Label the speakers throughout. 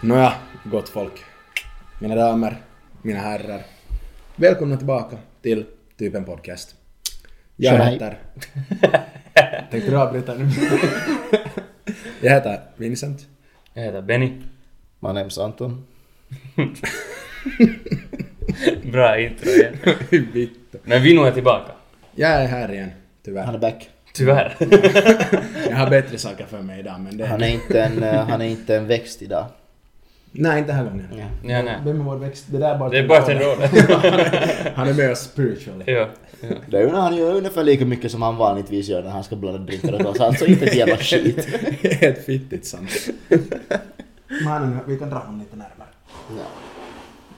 Speaker 1: Nåja, gott folk. Mina damer, mina herrar. Välkomna tillbaka till Typen Podcast. Jag
Speaker 2: Tjena.
Speaker 1: heter... Tänkte du avbryta nu? Jag heter Vincent.
Speaker 3: Jag heter Benny.
Speaker 2: My name's Anton.
Speaker 3: Bra intro igen.
Speaker 1: Vittu.
Speaker 3: Men Vino är tillbaka.
Speaker 1: Jag är här igen,
Speaker 2: Han
Speaker 1: tyvärr.
Speaker 2: är back.
Speaker 3: Tyvärr.
Speaker 1: Jag har bättre saker för mig idag men det...
Speaker 2: Han är inte en, eh, han är inte en växt idag.
Speaker 1: Nej, inte den här gången.
Speaker 2: Ja.
Speaker 3: ja, nej.
Speaker 1: Vem är vår växt? Det där är bara...
Speaker 3: Det är bara en roll.
Speaker 1: Han är med oss spiritually.
Speaker 3: ja.
Speaker 2: Det är ju när han gör ungefär lika mycket som han vanligtvis gör när han ska blanda drinkar åt oss. Alltså inte ett jävla skit.
Speaker 1: Helt fittigt sant. Mannen, vi kan dra honom lite närmare.
Speaker 2: Ja.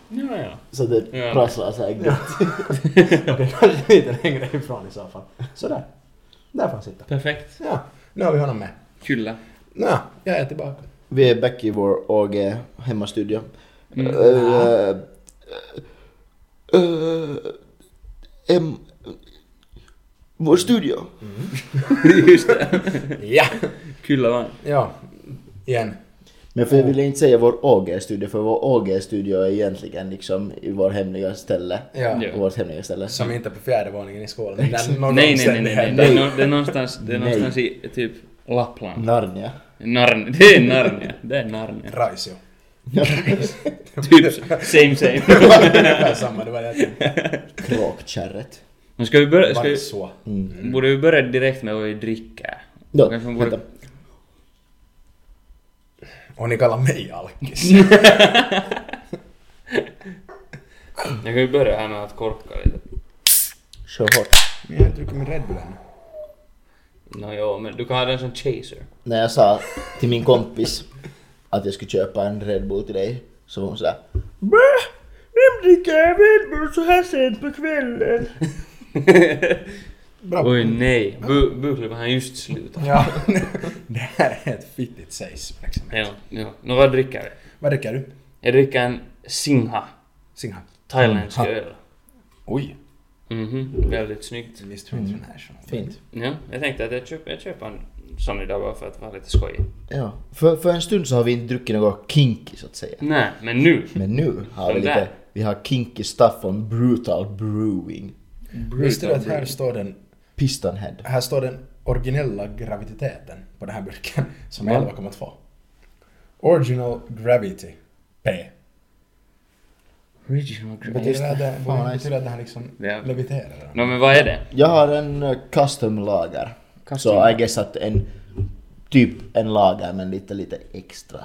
Speaker 3: ja, ja.
Speaker 2: Så det
Speaker 3: Ja.
Speaker 2: prasslar så här gött.
Speaker 1: Okej, kanske lite längre ifrån i så fall. Sådär. Där får han sitta.
Speaker 3: Perfekt.
Speaker 1: Ja, nu har vi honom med.
Speaker 3: Kulla.
Speaker 1: Nå, jag är tillbaka.
Speaker 2: Vi är back i vår AG hemmastudio.
Speaker 3: Mm.
Speaker 2: Eh, eh, em- vår studio.
Speaker 3: Just det.
Speaker 1: Ja!
Speaker 3: Kulla vann.
Speaker 1: Ja, igen.
Speaker 2: Men för jag ville inte säga vår AG-studio, för vår AG-studio är egentligen liksom i vår hemliga ställe.
Speaker 1: Ja.
Speaker 3: Ja.
Speaker 2: Vårt hemliga ställe.
Speaker 1: Som inte är på fjärde våningen i skolan. men där någon
Speaker 3: Nej, nej, nej, nej, nej. Det
Speaker 1: omständighet.
Speaker 3: är, nå- det är någonstans, det
Speaker 2: Nej.
Speaker 3: är någonstans i typ Lappland.
Speaker 2: Narnia.
Speaker 3: Narnia. Det är Narnia. Det är Narnia.
Speaker 1: Raisio.
Speaker 3: Typ same same.
Speaker 1: Ungefär samma, det var det jag tänkte.
Speaker 2: Kråkkärret.
Speaker 3: Men ska vi börja... Ska
Speaker 1: Bara
Speaker 3: vi,
Speaker 1: så.
Speaker 3: borde vi börja direkt med vad vi dricker?
Speaker 2: Ja,
Speaker 3: Kanske man
Speaker 2: vänta.
Speaker 3: borde...
Speaker 1: Och ni kallar mig alkis.
Speaker 3: Mm. Jag kan ju börja här med att korka lite.
Speaker 2: Kör hårt.
Speaker 1: Men jag har druckit min Red Bull ännu.
Speaker 3: Nå jo, men du kan ha den som chaser.
Speaker 2: När jag sa till min kompis att jag skulle köpa en Red Bull till dig, så hon sådär Brä! Vem dricker en Red Bull så här sent på kvällen?
Speaker 1: Bra.
Speaker 3: Oj nej, Bu- buklippen har just slutat.
Speaker 1: Ja. det här är ett fittigt sägs. Liksom.
Speaker 3: Ja, ja. Nå vad dricker vi?
Speaker 1: Vad dricker du?
Speaker 3: Jag dricker en Singha,
Speaker 1: Singha?
Speaker 3: thailändsk
Speaker 1: Ha.
Speaker 3: öl.
Speaker 1: Oj.
Speaker 3: Mhm, väldigt snyggt.
Speaker 1: Visst finns den här sån.
Speaker 2: Fint.
Speaker 3: Ja, jag tänkte att jag köper, jag köper en sån idag bara för att vara lite skojig.
Speaker 2: Ja, för, för en stund så har vi inte druckit något kinky så att säga.
Speaker 3: Nej, men nu!
Speaker 2: Men nu har vi
Speaker 3: Den
Speaker 2: lite,
Speaker 3: där.
Speaker 2: vi har kinky stuff från Brutal Brewing.
Speaker 1: Visste du att här
Speaker 3: Brewing.
Speaker 1: står den,
Speaker 2: Pistonhead.
Speaker 1: här står den originella graviteten på den här burken som är 11,2. Original Gravity P.
Speaker 3: Original Grey.
Speaker 1: Betyder det att det-
Speaker 2: Fan,
Speaker 1: borde-
Speaker 2: nice.
Speaker 1: betyder det att den här liksom
Speaker 3: Ja.
Speaker 1: leviterar?
Speaker 3: Nå men vad är det?
Speaker 2: Jag har en eh, custom lager.
Speaker 3: Custom
Speaker 2: Så I guess att en typ en lager men lite lite extra.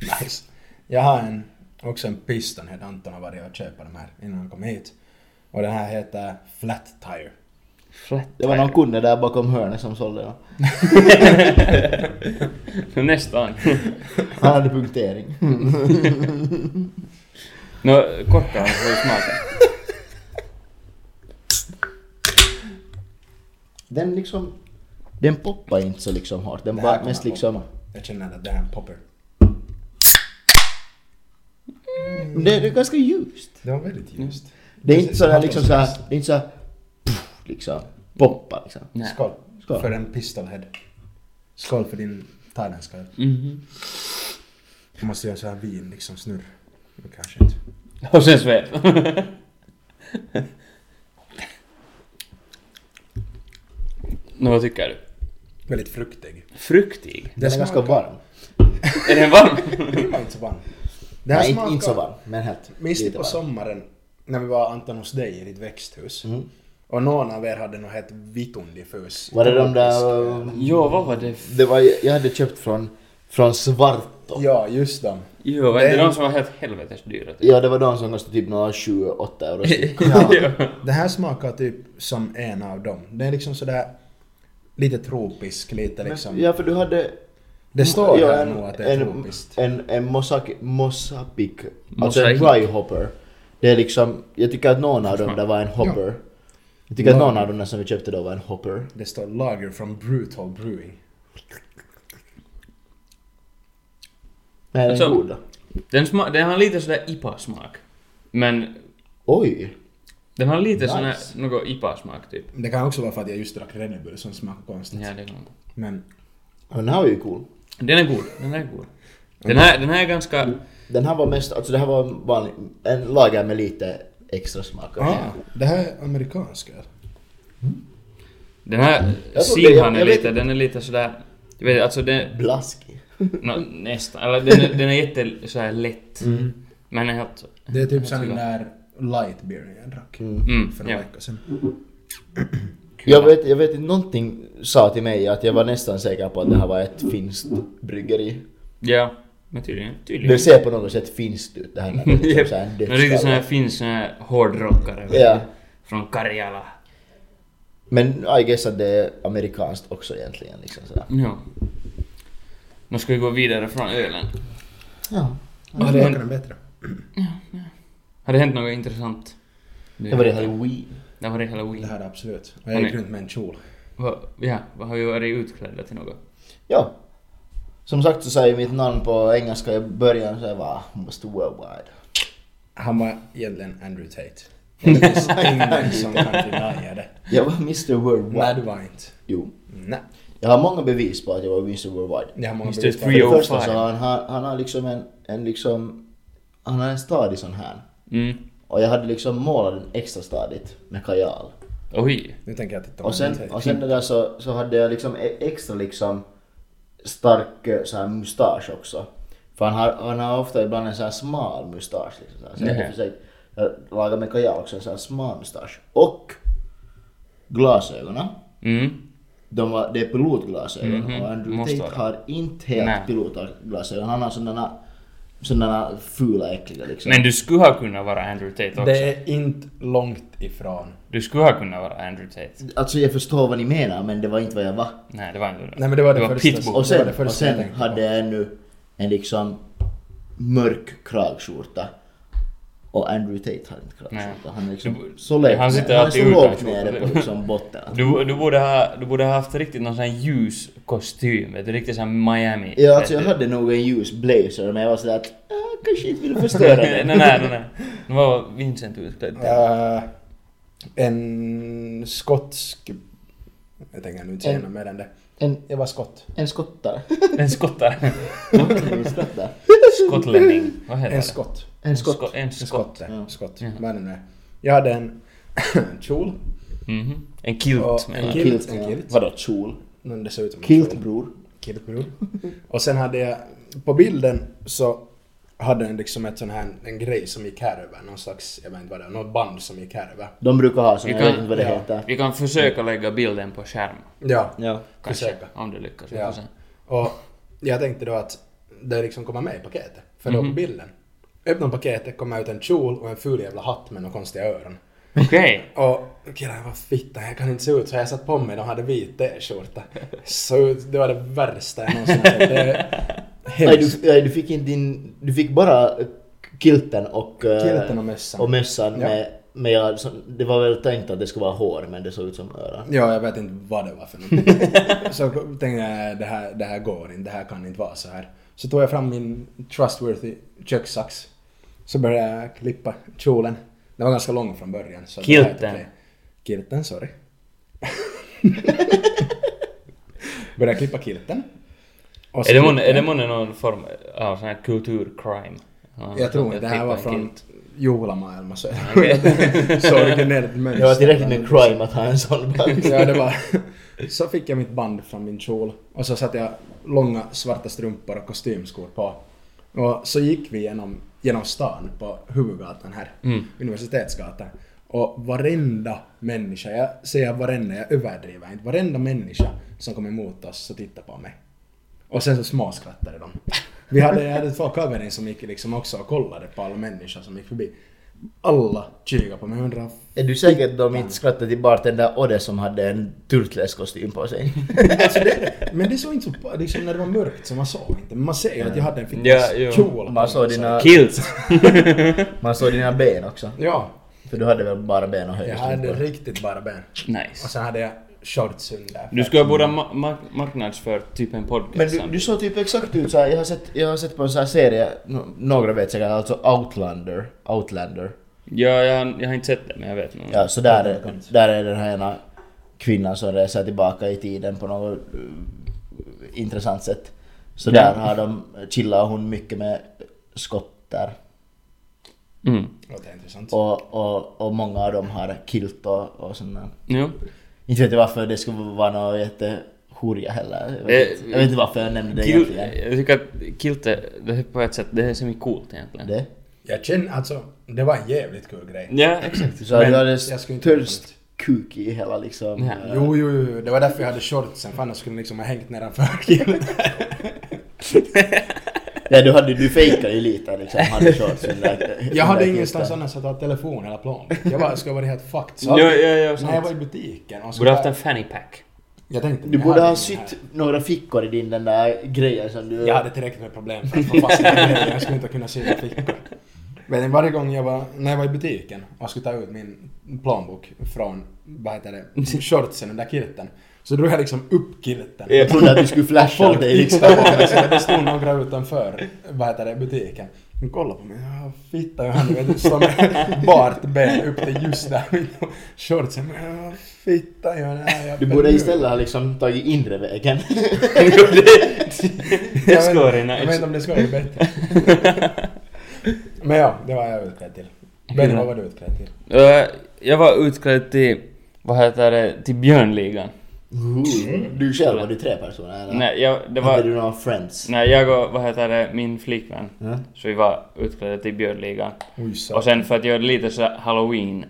Speaker 1: Nice. Jag har en, också en Pistonhead. Anton har varit och köpt de här innan han kom hit. Och den här heter Flat Tire.
Speaker 3: Flat
Speaker 2: Det var någon kunde där bakom hörnet som sålde dem.
Speaker 3: Nästan.
Speaker 2: Han hade punktering.
Speaker 3: Nå, korka hur smakar
Speaker 2: Den liksom... Den poppar inte så liksom hårt. Den
Speaker 1: Det här
Speaker 2: bara
Speaker 1: kommer
Speaker 2: mest
Speaker 1: att
Speaker 2: liksom...
Speaker 1: poppa. Jag känner att det här är en popper.
Speaker 2: Det, det är ganska ljust.
Speaker 1: Det var väldigt ljust.
Speaker 2: Det är
Speaker 1: Precis,
Speaker 2: inte sådär
Speaker 1: som
Speaker 2: liksom
Speaker 1: Anton
Speaker 2: såhär...
Speaker 1: sa.
Speaker 2: Det är inte såhär... Puff, liksom. Poppar liksom.
Speaker 3: Nej.
Speaker 1: Skål.
Speaker 2: Skål.
Speaker 1: För en pistolhead. Skål för din thailändska öl.
Speaker 3: Mhm.
Speaker 1: Jag måste göra så här vin, liksom snurr. Men kanske inte.
Speaker 3: Och sen svep. Nå vad tycker du?
Speaker 1: Väldigt fruktig.
Speaker 3: Fruktig?
Speaker 2: Den är ganska varm.
Speaker 3: Är den varm?
Speaker 1: Den var inte så varm. Det
Speaker 2: Nej, inte, inte så varm. Men helt.
Speaker 1: Minns ni
Speaker 2: lite
Speaker 1: på
Speaker 2: varm.
Speaker 1: sommaren när vi var Anton hos dig i ditt växthus?
Speaker 2: Mm.
Speaker 1: Och någon av er hade något helt vitun diffus.
Speaker 2: Var det de där...
Speaker 1: tropisk-
Speaker 2: eh,
Speaker 3: Jo, vad var det?
Speaker 2: Det var... Jag hade köpt från... Från Svarto.
Speaker 1: Ja, just dem.
Speaker 3: Jo, var det inte
Speaker 1: Den-
Speaker 3: de som var helt helvetes dyra? Typ?
Speaker 2: Ja, det var de som kostade typ några 28 euro styck.
Speaker 3: Ja.
Speaker 1: Det här smakar typ som en av dem. Det är liksom sådär lite tropisk, lite liksom...
Speaker 2: Ja, för du hade...
Speaker 1: Det står
Speaker 2: Mm. ja,
Speaker 1: här
Speaker 2: en-
Speaker 1: nog att det är
Speaker 2: en,
Speaker 1: tropiskt.
Speaker 2: En, en mosaic, mosaic, alltså en
Speaker 3: Mosaic.
Speaker 2: dry hopper. Det är liksom, jag tycker att någon av dem där var en hopper. Jag tycker att någon av dem där som vi köpte då var en hopper.
Speaker 1: Det står lager från Brutal Brewing.
Speaker 2: Men är den
Speaker 3: Alltså-
Speaker 2: god då?
Speaker 3: Den, sma- den har lite sådär IPA-smak. Men
Speaker 2: Oj!
Speaker 3: den har lite
Speaker 2: Nice.
Speaker 3: sån här, något IPA-smak typ.
Speaker 1: Det kan också vara för att jag just drack Red Bull som smakar konstigt.
Speaker 3: Ja, det kan...
Speaker 1: Men
Speaker 2: Den här var ju cool.
Speaker 3: Den är god, den är god. Den här, den här är ganska...
Speaker 2: Mm. Den här var mest, alltså det här var en vanlig, en lager med lite extra smak.
Speaker 1: Ah, det här är amerikansk öl.
Speaker 3: Den här
Speaker 2: Jag tror det-
Speaker 3: simhan
Speaker 2: jag-
Speaker 3: är
Speaker 2: jag vet
Speaker 3: lite,
Speaker 2: inte.
Speaker 3: den är lite sådär... Jag vet alltså den...
Speaker 2: Blaskig.
Speaker 3: nå, nästan. Eller den är, den är jätte såhär lätt.
Speaker 2: Mm.
Speaker 3: Men den är helt...
Speaker 1: Det är typ som den där light beer jag drack
Speaker 3: Mm,
Speaker 1: för några
Speaker 3: ja.
Speaker 1: veckor sedan.
Speaker 2: Jag vet, jag vet inte, någonting sa till mig att jag var nästan säker på att det här var ett finskt bryggeri.
Speaker 3: Ja. Men tydligen. Tydligen.
Speaker 2: Det ser på något sätt finskt ut det här när det är liksom
Speaker 3: Mm. Japp.
Speaker 2: såhär en
Speaker 3: En riktig sån här
Speaker 2: dödskalle.
Speaker 3: finsk sån här hårdrockare.
Speaker 2: Ja.
Speaker 3: Från Karjala.
Speaker 2: Men I guess att det är amerikanskt också egentligen liksom sådär.
Speaker 3: Ja. Nu ska vi gå vidare från ölen.
Speaker 2: Ja.
Speaker 1: Vad
Speaker 3: det-
Speaker 1: smakar den bättre?
Speaker 3: Har det hänt något intressant?
Speaker 2: Det var det halloween.
Speaker 3: Det var det
Speaker 1: Det
Speaker 3: halloween.
Speaker 1: här är absolut. Och jag gick
Speaker 3: Okej.
Speaker 1: runt med en kjol.
Speaker 3: Vad- Ja, vad har vi varit utklädda till något?
Speaker 2: Ja. Som sagt så sa jag mitt namn på engelska i början så jag bara måste worldwide.
Speaker 1: Han var egentligen Andrew Tate. Det finns ingen som kan denia det.
Speaker 2: Jag var Mr
Speaker 1: Nej,
Speaker 2: Worldwide.
Speaker 1: det var inte.
Speaker 2: Jo.
Speaker 1: Nej.
Speaker 2: Jag har många bevis på att jag var Mr Worldwide.
Speaker 1: Det har många
Speaker 3: Mr.
Speaker 1: bevis på.
Speaker 2: För det
Speaker 3: 305.
Speaker 2: första så har han, han, han har liksom en, en liksom, han har en stadig sån här.
Speaker 3: Mm.
Speaker 2: Och jag hade liksom målat den extra stadigt med kajal.
Speaker 3: Oj.
Speaker 1: Nu tänker jag titta på
Speaker 2: Och sen,
Speaker 1: Andrew
Speaker 2: och
Speaker 1: Tate.
Speaker 2: sen det där så, så hade jag liksom e- extra liksom stark eh, så här mustasch också. För han har, han har ofta ibland en så här smal mustasch. Liksom, så här. så jag
Speaker 3: Nähä.
Speaker 2: hade försökt laga med kajal också en så här smal mustasch. Och glasögonen.
Speaker 3: Mm.
Speaker 2: De var, det är pilotglasögon
Speaker 3: Mhm,
Speaker 2: och Andrew
Speaker 3: måste
Speaker 2: Tate
Speaker 3: vara.
Speaker 2: har inte helt
Speaker 3: Nej.
Speaker 2: pilotglasögon. Han har sådana, sådana fula äckliga liksom.
Speaker 3: Men du skulle ha kunnat vara Andrew Tate också.
Speaker 1: Det är inte långt ifrån.
Speaker 3: Du skulle ha kunnat vara Andrew Tate.
Speaker 2: Alltså jag förstår vad ni menar men det var inte vad jag var.
Speaker 3: Nej, det var inte
Speaker 1: Nej, men det var det första.
Speaker 3: Pitbull.
Speaker 1: Det
Speaker 2: Och
Speaker 1: var
Speaker 2: sen,
Speaker 1: det första
Speaker 2: och
Speaker 1: jag
Speaker 2: sen
Speaker 1: tänkte
Speaker 2: hade jag ännu en liksom mörk kragskjorta. Och Andrew Tate har inte kragskjorta. Han är liksom
Speaker 3: Du-
Speaker 2: så lätt
Speaker 3: han sitter
Speaker 2: ner- han är
Speaker 3: alltid
Speaker 2: så
Speaker 3: utan
Speaker 2: lågt
Speaker 3: skjorta.
Speaker 2: nere på liksom botten. att-
Speaker 3: Du, du, borde ha, du borde ha haft riktigt någon sån här ljus kostym. Vet du? Riktigt sån här Miami.
Speaker 2: Ja, alltså jag
Speaker 3: vet du.
Speaker 2: hade nog en ljus blazer men jag var sådär att ah, kanske inte vill förstöra
Speaker 3: nej,
Speaker 2: den.
Speaker 3: nej, nej, nej. Nu var Vincent utklädd till.
Speaker 1: Eh, en skotsk... Jag tänker nu inte säga
Speaker 2: En-
Speaker 1: något mer än det.
Speaker 2: En,
Speaker 1: Jag var skott.
Speaker 2: en skottare.
Speaker 3: En skottare.
Speaker 2: en skottare.
Speaker 3: Skottlänning. Vad heter
Speaker 1: En
Speaker 3: det?
Speaker 1: skott.
Speaker 2: En skott.
Speaker 3: Sko- en
Speaker 1: En
Speaker 3: skott.
Speaker 1: skott.
Speaker 2: Ja.
Speaker 1: skott.
Speaker 3: Ja.
Speaker 1: Vad är det nu är? Jag hade en kjol.
Speaker 3: Mhm. En kilt.
Speaker 1: Och
Speaker 3: menar
Speaker 1: en
Speaker 3: jag.
Speaker 1: kilt.
Speaker 2: Kilt.
Speaker 1: kilt.
Speaker 2: Vadå kjol?
Speaker 1: Men det ser ut som en
Speaker 2: Kilt
Speaker 1: kjol.
Speaker 2: bror.
Speaker 1: Kilt bror. Och sen hade jag... På bilden så hade den liksom ett sån här, en grej som gick här över. Någon slags, jag vet inte vad det var, något band som gick här över.
Speaker 2: De brukar ha såna,
Speaker 3: Vi
Speaker 2: jag
Speaker 3: kan-
Speaker 2: vet inte vad det
Speaker 1: ja.
Speaker 2: heter.
Speaker 3: Vi kan försöka lägga bilden på skärm.
Speaker 1: Ja.
Speaker 2: Ja.
Speaker 3: Kanske.
Speaker 1: Försöka.
Speaker 3: Om det lyckas. Vi får
Speaker 1: Ja.
Speaker 3: se.
Speaker 1: Och jag tänkte då att det liksom kommer med i paketet. För det var på bilden. Öppnar paketet, kommer ut en kjol och en ful jävla hatt med några konstiga öron.
Speaker 3: Okej.
Speaker 1: Och killarna var fitta, jag kan inte se ut så här." jag satt på mig, de hade vit t-skjorta. Så ut- det var det värsta jag någonsin har sett. Det är
Speaker 2: Nej,
Speaker 1: hemskt.
Speaker 2: du, nej, du fick inte din... Du fick bara eh, kilten och... eh,
Speaker 1: Kilten och mössan.
Speaker 2: Och mössan
Speaker 1: Ja.
Speaker 2: med... Men jag, så- det var väl tänkt att det skulle vara hår men det såg ut som öron.
Speaker 1: Ja, jag vet inte vad det var för någonting. Så tänkte jag, det här, det här går inte, det här kan inte vara så här. Så tog jag fram min trustworthy kökssax. Så började jag klippa kjolen. Den var ganska lång från början. Så det var helt
Speaker 3: Kilten.
Speaker 1: okej. Kilten, sorry. började klippa kilten. Och så
Speaker 3: Är det månne-
Speaker 1: klippte
Speaker 3: Är det
Speaker 1: jag-
Speaker 3: månne någon form av sån här kulturcrime? Ja,
Speaker 1: Jag tror inte, det här
Speaker 3: klippa
Speaker 1: var
Speaker 3: en
Speaker 1: från
Speaker 3: kilt.
Speaker 1: juhlamaailma. Så så originellt mönster.
Speaker 2: Det var tillräckligt med crime att ha en sån band.
Speaker 1: Ja, det var... Så fick jag mitt band från min kjol och så satte jag långa svarta strumpor och kostymskor på. Och så gick vi genom, genom stan på huvudgatan här,
Speaker 3: Mm.
Speaker 1: Universitetsgatan. Och varenda människa, jag säger varenda, jag överdriver inte, varenda människa som kom emot oss så tittade på mig. Och sen så småskrattade de. Vi hade, jag hade två kaverin som gick liksom också och kollade på alla människor som gick förbi. Alla kikade på mig och undrade
Speaker 2: Är du säker att de inte skrattade till bartender Odde som hade en turtlesk-kostym på sig?
Speaker 1: Alltså det, men det såg inte så... Liksom när det var mörkt så man såg inte. Men man ser ju att jag hade en fittis
Speaker 3: Ja, jo.
Speaker 1: kjol på
Speaker 2: Man såg
Speaker 1: mig, så-
Speaker 2: dina,
Speaker 3: Kilt!
Speaker 2: man såg dina ben också.
Speaker 1: Ja.
Speaker 2: För du hade väl bara ben och höga
Speaker 1: Jag hade
Speaker 2: strumpor?
Speaker 1: riktigt bara ben. Och
Speaker 3: Nice.
Speaker 1: sen hade jag shorts under.
Speaker 3: Du skulle ha borde ha ma- ma- marknadsfört typ en podcast.
Speaker 2: Men du,
Speaker 3: sen.
Speaker 2: du såg typ exakt ut såhär, jag har sett, jag har sett på en sån här serie, no- några vet säkert, alltså Outlander. Outlander.
Speaker 3: Ja, jag, har- jag har inte sett det, men jag vet nog.
Speaker 2: Ja, så där, är- där är den här ena kvinnan som reser tillbaka i tiden på något eh, intressant sätt. Så
Speaker 3: Ja.
Speaker 2: där har de, chillar hon mycket med skottar.
Speaker 3: Mm.
Speaker 1: Låter intressant.
Speaker 2: Och, och, och många av dem har kilt och, och sånt där.
Speaker 3: Jo.
Speaker 2: Inte vet jag varför det skulle vara något jättehoriga heller. Jag
Speaker 3: Eh,
Speaker 2: vet, inte, jag vet inte varför jag nämnde
Speaker 1: Eh,
Speaker 2: det
Speaker 3: Kilt,
Speaker 2: egentligen.
Speaker 3: jag tycker att kilte, det är på ett sätt, det är semi-coolt egentligen.
Speaker 2: Det.
Speaker 1: Jag känner alltså, det var en jävligt kul grej.
Speaker 3: Ja, exakt.
Speaker 2: Så du
Speaker 1: Men
Speaker 2: hade
Speaker 1: jag skulle inte-
Speaker 2: störst kuk i hela liksom.
Speaker 3: Nej.
Speaker 2: eh,
Speaker 1: Jo, jo, jo, det var därför jag hade shortsen för annars skulle jag liksom ha hängt nedanför killen.
Speaker 2: Ja, du, hade, du fejkade ju lite liksom. Hade shorts under- under
Speaker 1: Jag hade
Speaker 2: kuken.
Speaker 1: ingenstans annars att ha telefon hela planen. Jag bara, skulle ha varit helt fucked. Så
Speaker 3: Ja, ja, ja,
Speaker 1: när jag var i
Speaker 3: sant.
Speaker 1: butiken och
Speaker 3: Borde
Speaker 1: skulle...
Speaker 3: haft en fanny pack.
Speaker 1: Jag tänkte...
Speaker 2: Du
Speaker 1: jag
Speaker 2: borde
Speaker 1: hade
Speaker 2: ha
Speaker 1: ingen
Speaker 2: sytt
Speaker 1: här.
Speaker 2: några fickor i din den där grejen som du...
Speaker 1: Jag hade tillräckligt med problem för att få fast den grejen. Jag skulle inte kunna sy några fickor. Men varje gång jag var, när jag var i butiken och skulle ta ut min planbok från, vad heter det, shortsen, den där kilten. Så drog jag liksom upp kilten.
Speaker 2: Jag trodde att du skulle
Speaker 1: Och
Speaker 2: flasha
Speaker 1: folk
Speaker 2: dig
Speaker 1: tittade
Speaker 2: liksom.
Speaker 1: på mig så det stod några utanför, vad heter det, butiken. De kollade på mig, ja fitta Johan, du vet, står med bart ben upp till just där vid shortsen. Ja fitta Johan, nej, jag
Speaker 2: Du borde istället ha liksom tagit inre vägen.
Speaker 1: Jag vet-
Speaker 3: Skåre,
Speaker 1: Jag vet inte
Speaker 3: nice.
Speaker 1: om det ska vara bättre. Men ja, det var jag utklädd till. Benny, vad var du utklädd till?
Speaker 3: Eh, Jag var utklädd till, vad heter det, till Björnligan.
Speaker 2: Ooh, du själv, var du tre personer eller?
Speaker 3: Nej, jag, det
Speaker 2: Hade
Speaker 3: var...
Speaker 2: du några friends?
Speaker 3: Nej, jag och, vad heter det, min flickvän.
Speaker 2: Ja.
Speaker 3: Så vi var utklädda till Björnligan.
Speaker 1: Oj,
Speaker 3: Och sen för att göra det lite så här halloween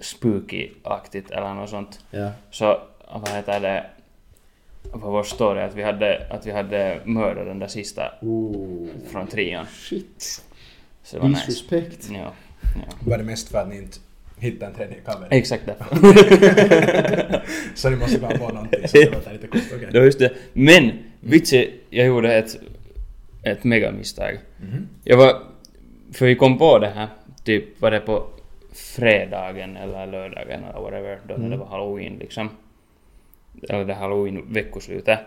Speaker 3: spooky-aktigt eller något sånt.
Speaker 2: Ja.
Speaker 3: Så vad heter det? Vad vår story att vi hade, att vi hade mördat den där sista
Speaker 2: Ooh.
Speaker 3: från trion.
Speaker 2: Oh. Shit.
Speaker 3: Så det var nice.
Speaker 2: Disrespect.
Speaker 3: Ja, ja.
Speaker 1: Var det mest för att ni inte hittade en tredje cover?
Speaker 3: Exakt därför.
Speaker 1: Så ni måste bara få någonting som det låter lite coolt.
Speaker 3: Det
Speaker 1: Okej.
Speaker 3: var just det. Men vitsi, jag gjorde ett, ett megamisstag.
Speaker 1: Mhm.
Speaker 3: Jag var... För vi kom på det här, typ var det på fredagen eller lördagen eller whatever, då när det
Speaker 2: Mm.
Speaker 3: var halloween liksom. Eller det halloween-veckoslutet.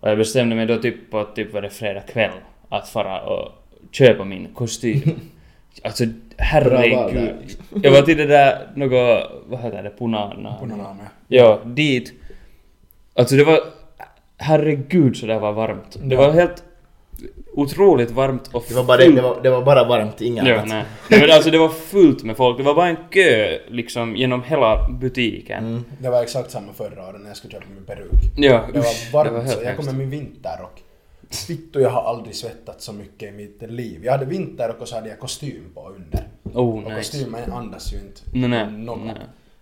Speaker 3: Och jag bestämde mig då typ på att typ var det fredag kväll att fara och köpa min kostym. alltså
Speaker 2: Bra val
Speaker 3: herregud.
Speaker 2: där.
Speaker 3: Jag var till det där något, vad heter det, punana?
Speaker 1: På någon annan.
Speaker 3: Ja, dit. Alltså det var... Herregud så det var varmt. Det var helt otroligt varmt och
Speaker 2: Det var bara, det, det var, det var bara varmt, inget
Speaker 3: Ja,
Speaker 2: annat.
Speaker 3: nej. Nej, men alltså det var fullt med folk. Det var bara en kö liksom genom hela butiken.
Speaker 2: Mm.
Speaker 1: Det var exakt samma förra året när jag skulle köpa min peruk.
Speaker 3: Ja,
Speaker 1: Det var
Speaker 3: usch,
Speaker 1: varmt
Speaker 3: det var
Speaker 1: så
Speaker 3: helt
Speaker 1: jag kom med min vinterrock. Fitto, jag har aldrig svettat så mycket i mitt liv. Jag hade vinterrock och så hade jag kostym på under.
Speaker 3: Oh,
Speaker 1: Och
Speaker 3: nice.
Speaker 1: kostymen andas ju inte
Speaker 3: Nej, nej,
Speaker 1: något.
Speaker 3: nej.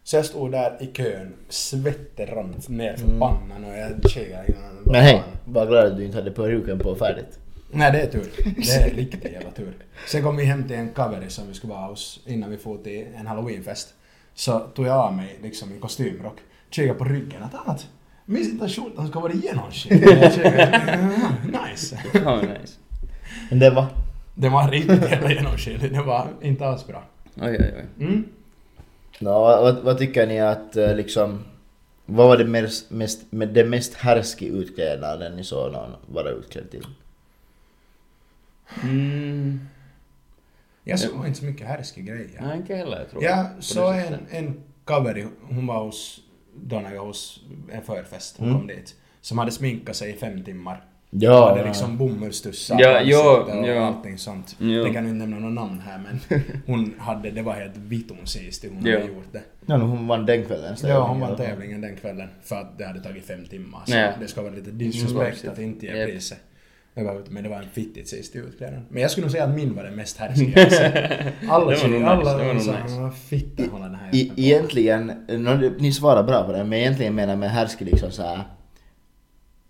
Speaker 1: Så jag stod där i kön, svettig rant ner för pannan och jag kikade innan.
Speaker 2: Men hej, var glad att du inte hade peruken på färdigt.
Speaker 1: Nej, det är tur. Det är riktigt jävla tur. Sen kom vi hem till en kaveri som vi skulle vara hos innan vi for till en halloweenfest. Så tog jag av mig liksom min kostymrock, kikade på ryggen att annat. Minns inte att skjortan ska vara genomskinlig. Jag kikade, "Ah, Nice.
Speaker 3: Ja, nice.
Speaker 2: Men det var...
Speaker 1: Det var riktigt jävla genomskinlig. Det var inte alls bra.
Speaker 3: Oj, oj, oj.
Speaker 1: Mm.
Speaker 2: Nå, vad, vad, vad tycker ni att eh, liksom... Vad var det mest, mest, med det mest härskiga utklädnaden ni såg någon vara utklädd till?
Speaker 3: Mm.
Speaker 1: Jag såg inte så mycket härskig grejer.
Speaker 3: Nej, inte heller tror jag.
Speaker 1: Jag
Speaker 3: På
Speaker 1: såg
Speaker 3: det sättet.
Speaker 1: en, en cover, hon var hos, då när jag var hos en förfest,
Speaker 3: Mm.
Speaker 1: hon kom dit. Som hade sminkat sig i fem timmar.
Speaker 2: Ja,
Speaker 1: hade
Speaker 2: ja.
Speaker 1: liksom bomullstussar
Speaker 3: Ja,
Speaker 1: på ansiktet
Speaker 3: ja,
Speaker 1: och
Speaker 3: ja.
Speaker 1: allting sånt.
Speaker 3: Ja.
Speaker 1: Jag kan inte nämna några namn här men hon hade, det var helt vitonsist hur hon
Speaker 3: Ja.
Speaker 1: hade gjort det.
Speaker 2: Ja, men hon vann den kvällen. så-
Speaker 1: Ja, hon vann tävlingen den kvällen för att det hade tagit fem timmar. Så
Speaker 3: Ja.
Speaker 1: det ska vara lite
Speaker 3: Mm,
Speaker 1: disrespect
Speaker 3: absolut.
Speaker 1: att inte ge
Speaker 3: Japp.
Speaker 1: priset. Överhuvudtaget, Men det var en fittigt sist i utklädnaden. Men jag skulle nog säga att min var den mest härskiga. jag sett.
Speaker 3: Det var
Speaker 1: alla
Speaker 3: nog
Speaker 1: tjejer,
Speaker 3: nice,
Speaker 1: alla
Speaker 3: det var nog
Speaker 1: sa
Speaker 3: nice.
Speaker 1: "Vad fitta hon har den här
Speaker 2: I,
Speaker 1: jäveln på."
Speaker 2: egentligen, nå, det- ni svarar bra på det, men egentligen menar jag med härskig liksom så här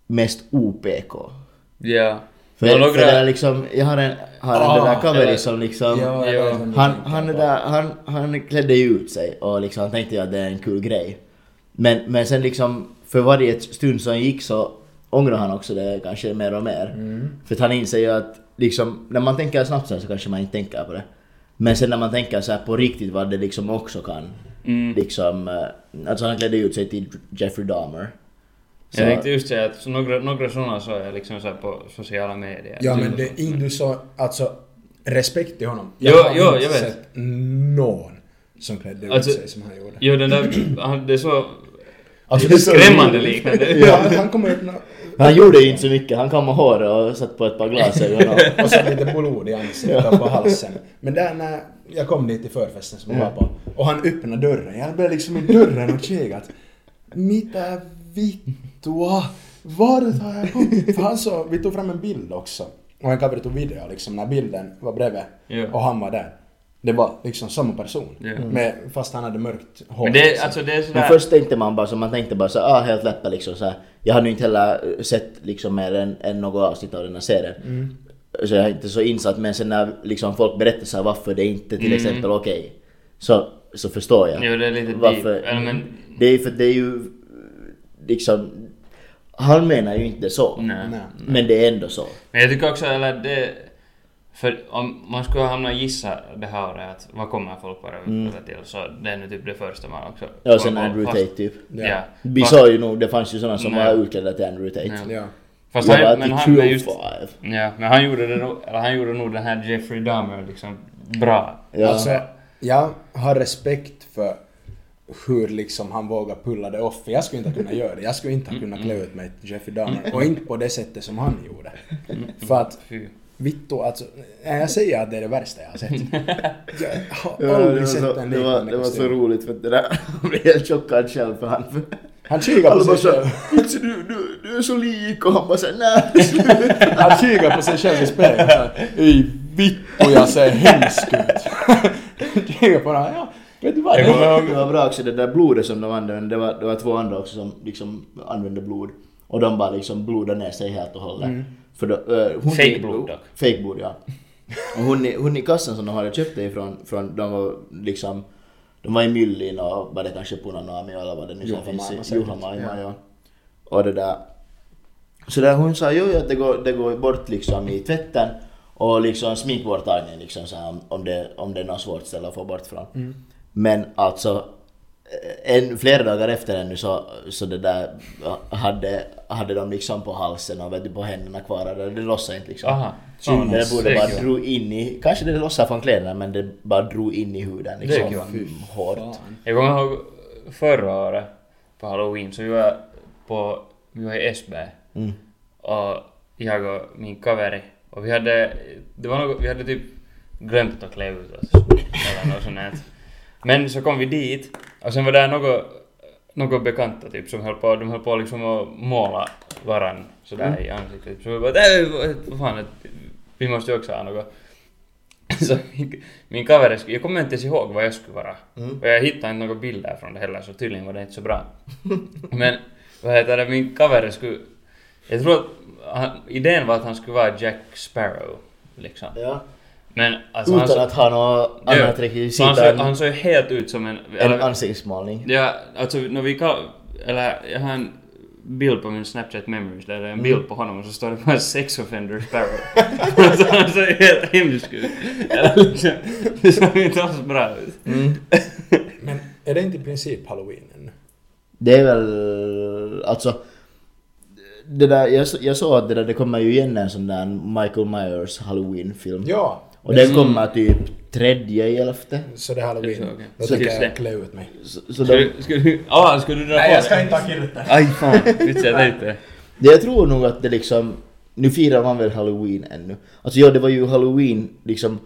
Speaker 2: mest OPK.
Speaker 3: Ja.
Speaker 2: För,
Speaker 3: Det var
Speaker 2: för det är
Speaker 3: några...
Speaker 2: liksom, jag har en, har en den
Speaker 1: Ah,
Speaker 2: där
Speaker 3: eller-
Speaker 2: cover som
Speaker 3: um,
Speaker 2: liksom...
Speaker 1: Ja, jag vet vem du
Speaker 2: Han,
Speaker 1: tänker
Speaker 2: han, är
Speaker 1: på.
Speaker 2: där, han, han klädde ju ut sig och liksom, han tänkte ju att det är en kul grej. Men, men sen liksom, för varje stund som gick så ångrar han också det kanske mer och mer. För att han inser ju att liksom, när man tänker snabbt så, här så kanske man inte tänker på det. Men sen när man tänker så här på riktigt vad det liksom också kan.
Speaker 3: Mm.
Speaker 2: Liksom, eh, alltså han klädde ut sig till Jeffrey Dahmer. Så-
Speaker 3: Jag tänkte just säga att så några, några sådana såg jag liksom så här på sociala medier.
Speaker 1: Ja men det, i- du sa alltså respekt till honom.
Speaker 3: Jo,
Speaker 1: har
Speaker 3: jo,
Speaker 1: inte
Speaker 3: jag vet.
Speaker 1: sett någon som klädde ut
Speaker 3: Alltså,
Speaker 1: sig som han gjorde.
Speaker 3: Jo, den där... Han, det så...
Speaker 2: Alltså,
Speaker 3: Det är
Speaker 2: så-
Speaker 3: skrämmande liknande.
Speaker 1: Ja, att han kommer hit
Speaker 2: Han gjorde ju inte så mycket, han kammade håret och satte på ett par glasögon och...
Speaker 1: och så lite blod i ansiktet och på halsen. Men där när jag kom dit till förfesten som jag var på och han öppnade dörren. Jag blev liksom i dörren och kikade. Mitä vittua? Vart har jag kommit? För han såg, vi tog fram en bild också. Och en kamera tog video liksom när bilden var bredvid
Speaker 3: Ja.
Speaker 1: och han var där. Det var liksom samma person.
Speaker 3: Ja.
Speaker 1: Men, fast han hade mörkt hår.
Speaker 3: Men det,
Speaker 1: liksom.
Speaker 3: alltså det är
Speaker 2: Men
Speaker 3: sådär...
Speaker 2: först tänkte man bara så, man tänkte bara så, ah helt läppa liksom så här. Jag hade ju inte heller eh, sett liksom mer än, än något avsnitt av den här serien.
Speaker 3: Mm.
Speaker 2: Så jag är inte så insatt men sen när liksom folk berättar så här, varför det inte till exempel okej. så, så förstår jag.
Speaker 3: Mm. Jo, det är lite deep.
Speaker 2: varför. Mm.
Speaker 3: Eller men-
Speaker 2: Det är för det är ju liksom, han menar ju inte så.
Speaker 3: Nej.
Speaker 1: Nej.
Speaker 2: Men det är ändå så.
Speaker 3: Men jag tycker också, eller det... För om man skulle hamna och gissa det här året, att vad kommer folk vara utbildade till? Så det är nu typ det första man också...
Speaker 2: Mm. Ja och sen
Speaker 3: kommer på.
Speaker 2: Andrew
Speaker 3: Fast-
Speaker 2: Tate typ.
Speaker 3: Ja.
Speaker 2: Vi
Speaker 3: Fast-
Speaker 2: sa ju nog, det fanns ju sådana som
Speaker 3: Nej.
Speaker 2: var utklädda till Andrew Tate.
Speaker 3: Ja.
Speaker 1: Ja.
Speaker 3: Fast
Speaker 2: Jag bara,
Speaker 3: han, men han, men just,
Speaker 2: 205.
Speaker 3: ja, men han gjorde det nog, eller han gjorde nog den här Jeffrey Dahmer liksom bra.
Speaker 2: Ja.
Speaker 1: Alltså, jag har respekt för hur liksom han vågar pulla det off. För Jag skulle inte kunna göra det. Jag skulle inte ha kunnat klä ut mig till Jeffrey Dahmer. Och inte på det sättet som han gjorde. För att,
Speaker 3: Fy.
Speaker 1: vittu alltså. nej, Jag säger att det är det värsta jag har sett. Jag
Speaker 2: Ja,
Speaker 1: har
Speaker 2: det var
Speaker 1: aldrig sett
Speaker 2: så-
Speaker 1: en
Speaker 2: det var,
Speaker 1: liknande
Speaker 2: det var så
Speaker 1: kostym.
Speaker 2: roligt för det där, jag blev helt chockad själv för han...
Speaker 1: Han kikar
Speaker 2: Alla
Speaker 1: på
Speaker 2: bara
Speaker 1: sig
Speaker 2: såhär,
Speaker 1: själv.
Speaker 2: du, du, du är så lik och han bara såhär, nej sluta."
Speaker 1: Han kikar på sig själv i spegeln och säger Ej vittu jag ser hemsk ut. Kikar på honom. Ja, vet du vad?
Speaker 3: Jag kommer ihåg-
Speaker 2: Det var bra också det där blodet som de använde, det var, det var två andra också som liksom använde blod. Och de bara liksom blodade ner sig helt och hållet.
Speaker 1: Mm.
Speaker 2: För då, eh, hon,
Speaker 3: Fake blod dock.
Speaker 2: Fake blod ja. Och hon, i- hon i kassan som de hade köpt det ifrån, från, de var liksom de var i Myllin och var det kanske Punanami eller vad det nu som
Speaker 1: Juhamaima
Speaker 2: finns i
Speaker 1: säkert,
Speaker 2: Juhamaima
Speaker 1: ja.
Speaker 2: ja. Och det där. Så där hon sa jo, jo, att det går, det går bort liksom i tvätten och liksom sminkborttagning liksom så här, om- om, det, om det är något svårt ställe att få bort från.
Speaker 3: Mm.
Speaker 2: Men alltså eh, en, flera dagar efter ännu så, så det där eh, hade, hade de liksom på halsen och vet du, på händerna kvar. Det, det lossade inte liksom.
Speaker 3: Aha.
Speaker 2: Fan, det
Speaker 3: Jonas,
Speaker 2: borde
Speaker 3: det är
Speaker 2: bara
Speaker 3: kul.
Speaker 2: drog in i, kanske det lossade från kläderna men det bara drog in i huden liksom.
Speaker 3: Det är
Speaker 1: kul.
Speaker 2: Mm, Hårt.
Speaker 1: Fan.
Speaker 3: Jag kommer ihåg förra året på halloween så vi var på, vi var i Esbjerg. Och jag och min kaveri. Och vi hade, det var något, vi hade typ glömt att klä ut oss. Eller något sånt här. Men så kom vi dit och sen var det något, något bekanta typ som höll på, de höll på liksom att måla varann sådär
Speaker 2: Mm.
Speaker 3: i ansiktet. Typ. Så vi bara "Äh, vad- vad fan, att vi måste ju också ha något. Så min, min kaveri, sk- jag kommer inte ens ihåg vad jag skulle vara.
Speaker 2: Mm.
Speaker 3: Och jag hittade inte några bilder från det heller, så tydligen var det inte så bra. Men vad heter det, min kaveri skulle... Jag tror att han, idén var att han skulle vara Jack Sparrow, liksom.
Speaker 2: Ja.
Speaker 3: Men alltså han
Speaker 2: Utan
Speaker 3: så-
Speaker 2: att ha något annat
Speaker 3: Ja,
Speaker 2: rekvisit
Speaker 3: Han såg-
Speaker 2: än
Speaker 3: han såg helt ut som en...
Speaker 2: en
Speaker 3: eller-
Speaker 2: ansiktsmålning.
Speaker 3: Ja, alltså när vi kall... Eller jag har en bild på min Snapchat memories där det är en bild på honom och så står det bara sex offender sparrow. alltså han ser helt hemsk ut. Eller liksom, Det såg inte alls bra ut.
Speaker 2: Mm.
Speaker 1: Men är det inte i princip halloween ännu?
Speaker 2: Det är väl, alltså. Det där, jag, s- jag såg att det, där, det kommer ju igen en sån där Michael Myers Halloween-film.
Speaker 1: Ja.
Speaker 2: Och
Speaker 3: Mm.
Speaker 2: den kommer typ tredje i elfte.
Speaker 1: Så det är halloween.
Speaker 3: Så, okej.
Speaker 1: Då
Speaker 3: Så
Speaker 1: tänker
Speaker 3: just
Speaker 1: jag
Speaker 3: det.
Speaker 1: klä ut mig.
Speaker 2: Så, så
Speaker 3: Ska
Speaker 2: de,
Speaker 3: du... Ska du... Ah, ska du dra på dig?
Speaker 1: inte ha kilten.
Speaker 3: Aj fan, vitsen jag tänkte.
Speaker 2: det jag tror nog att det liksom, nu firar man väl halloween ännu. Alltså ja, det var ju halloween, liksom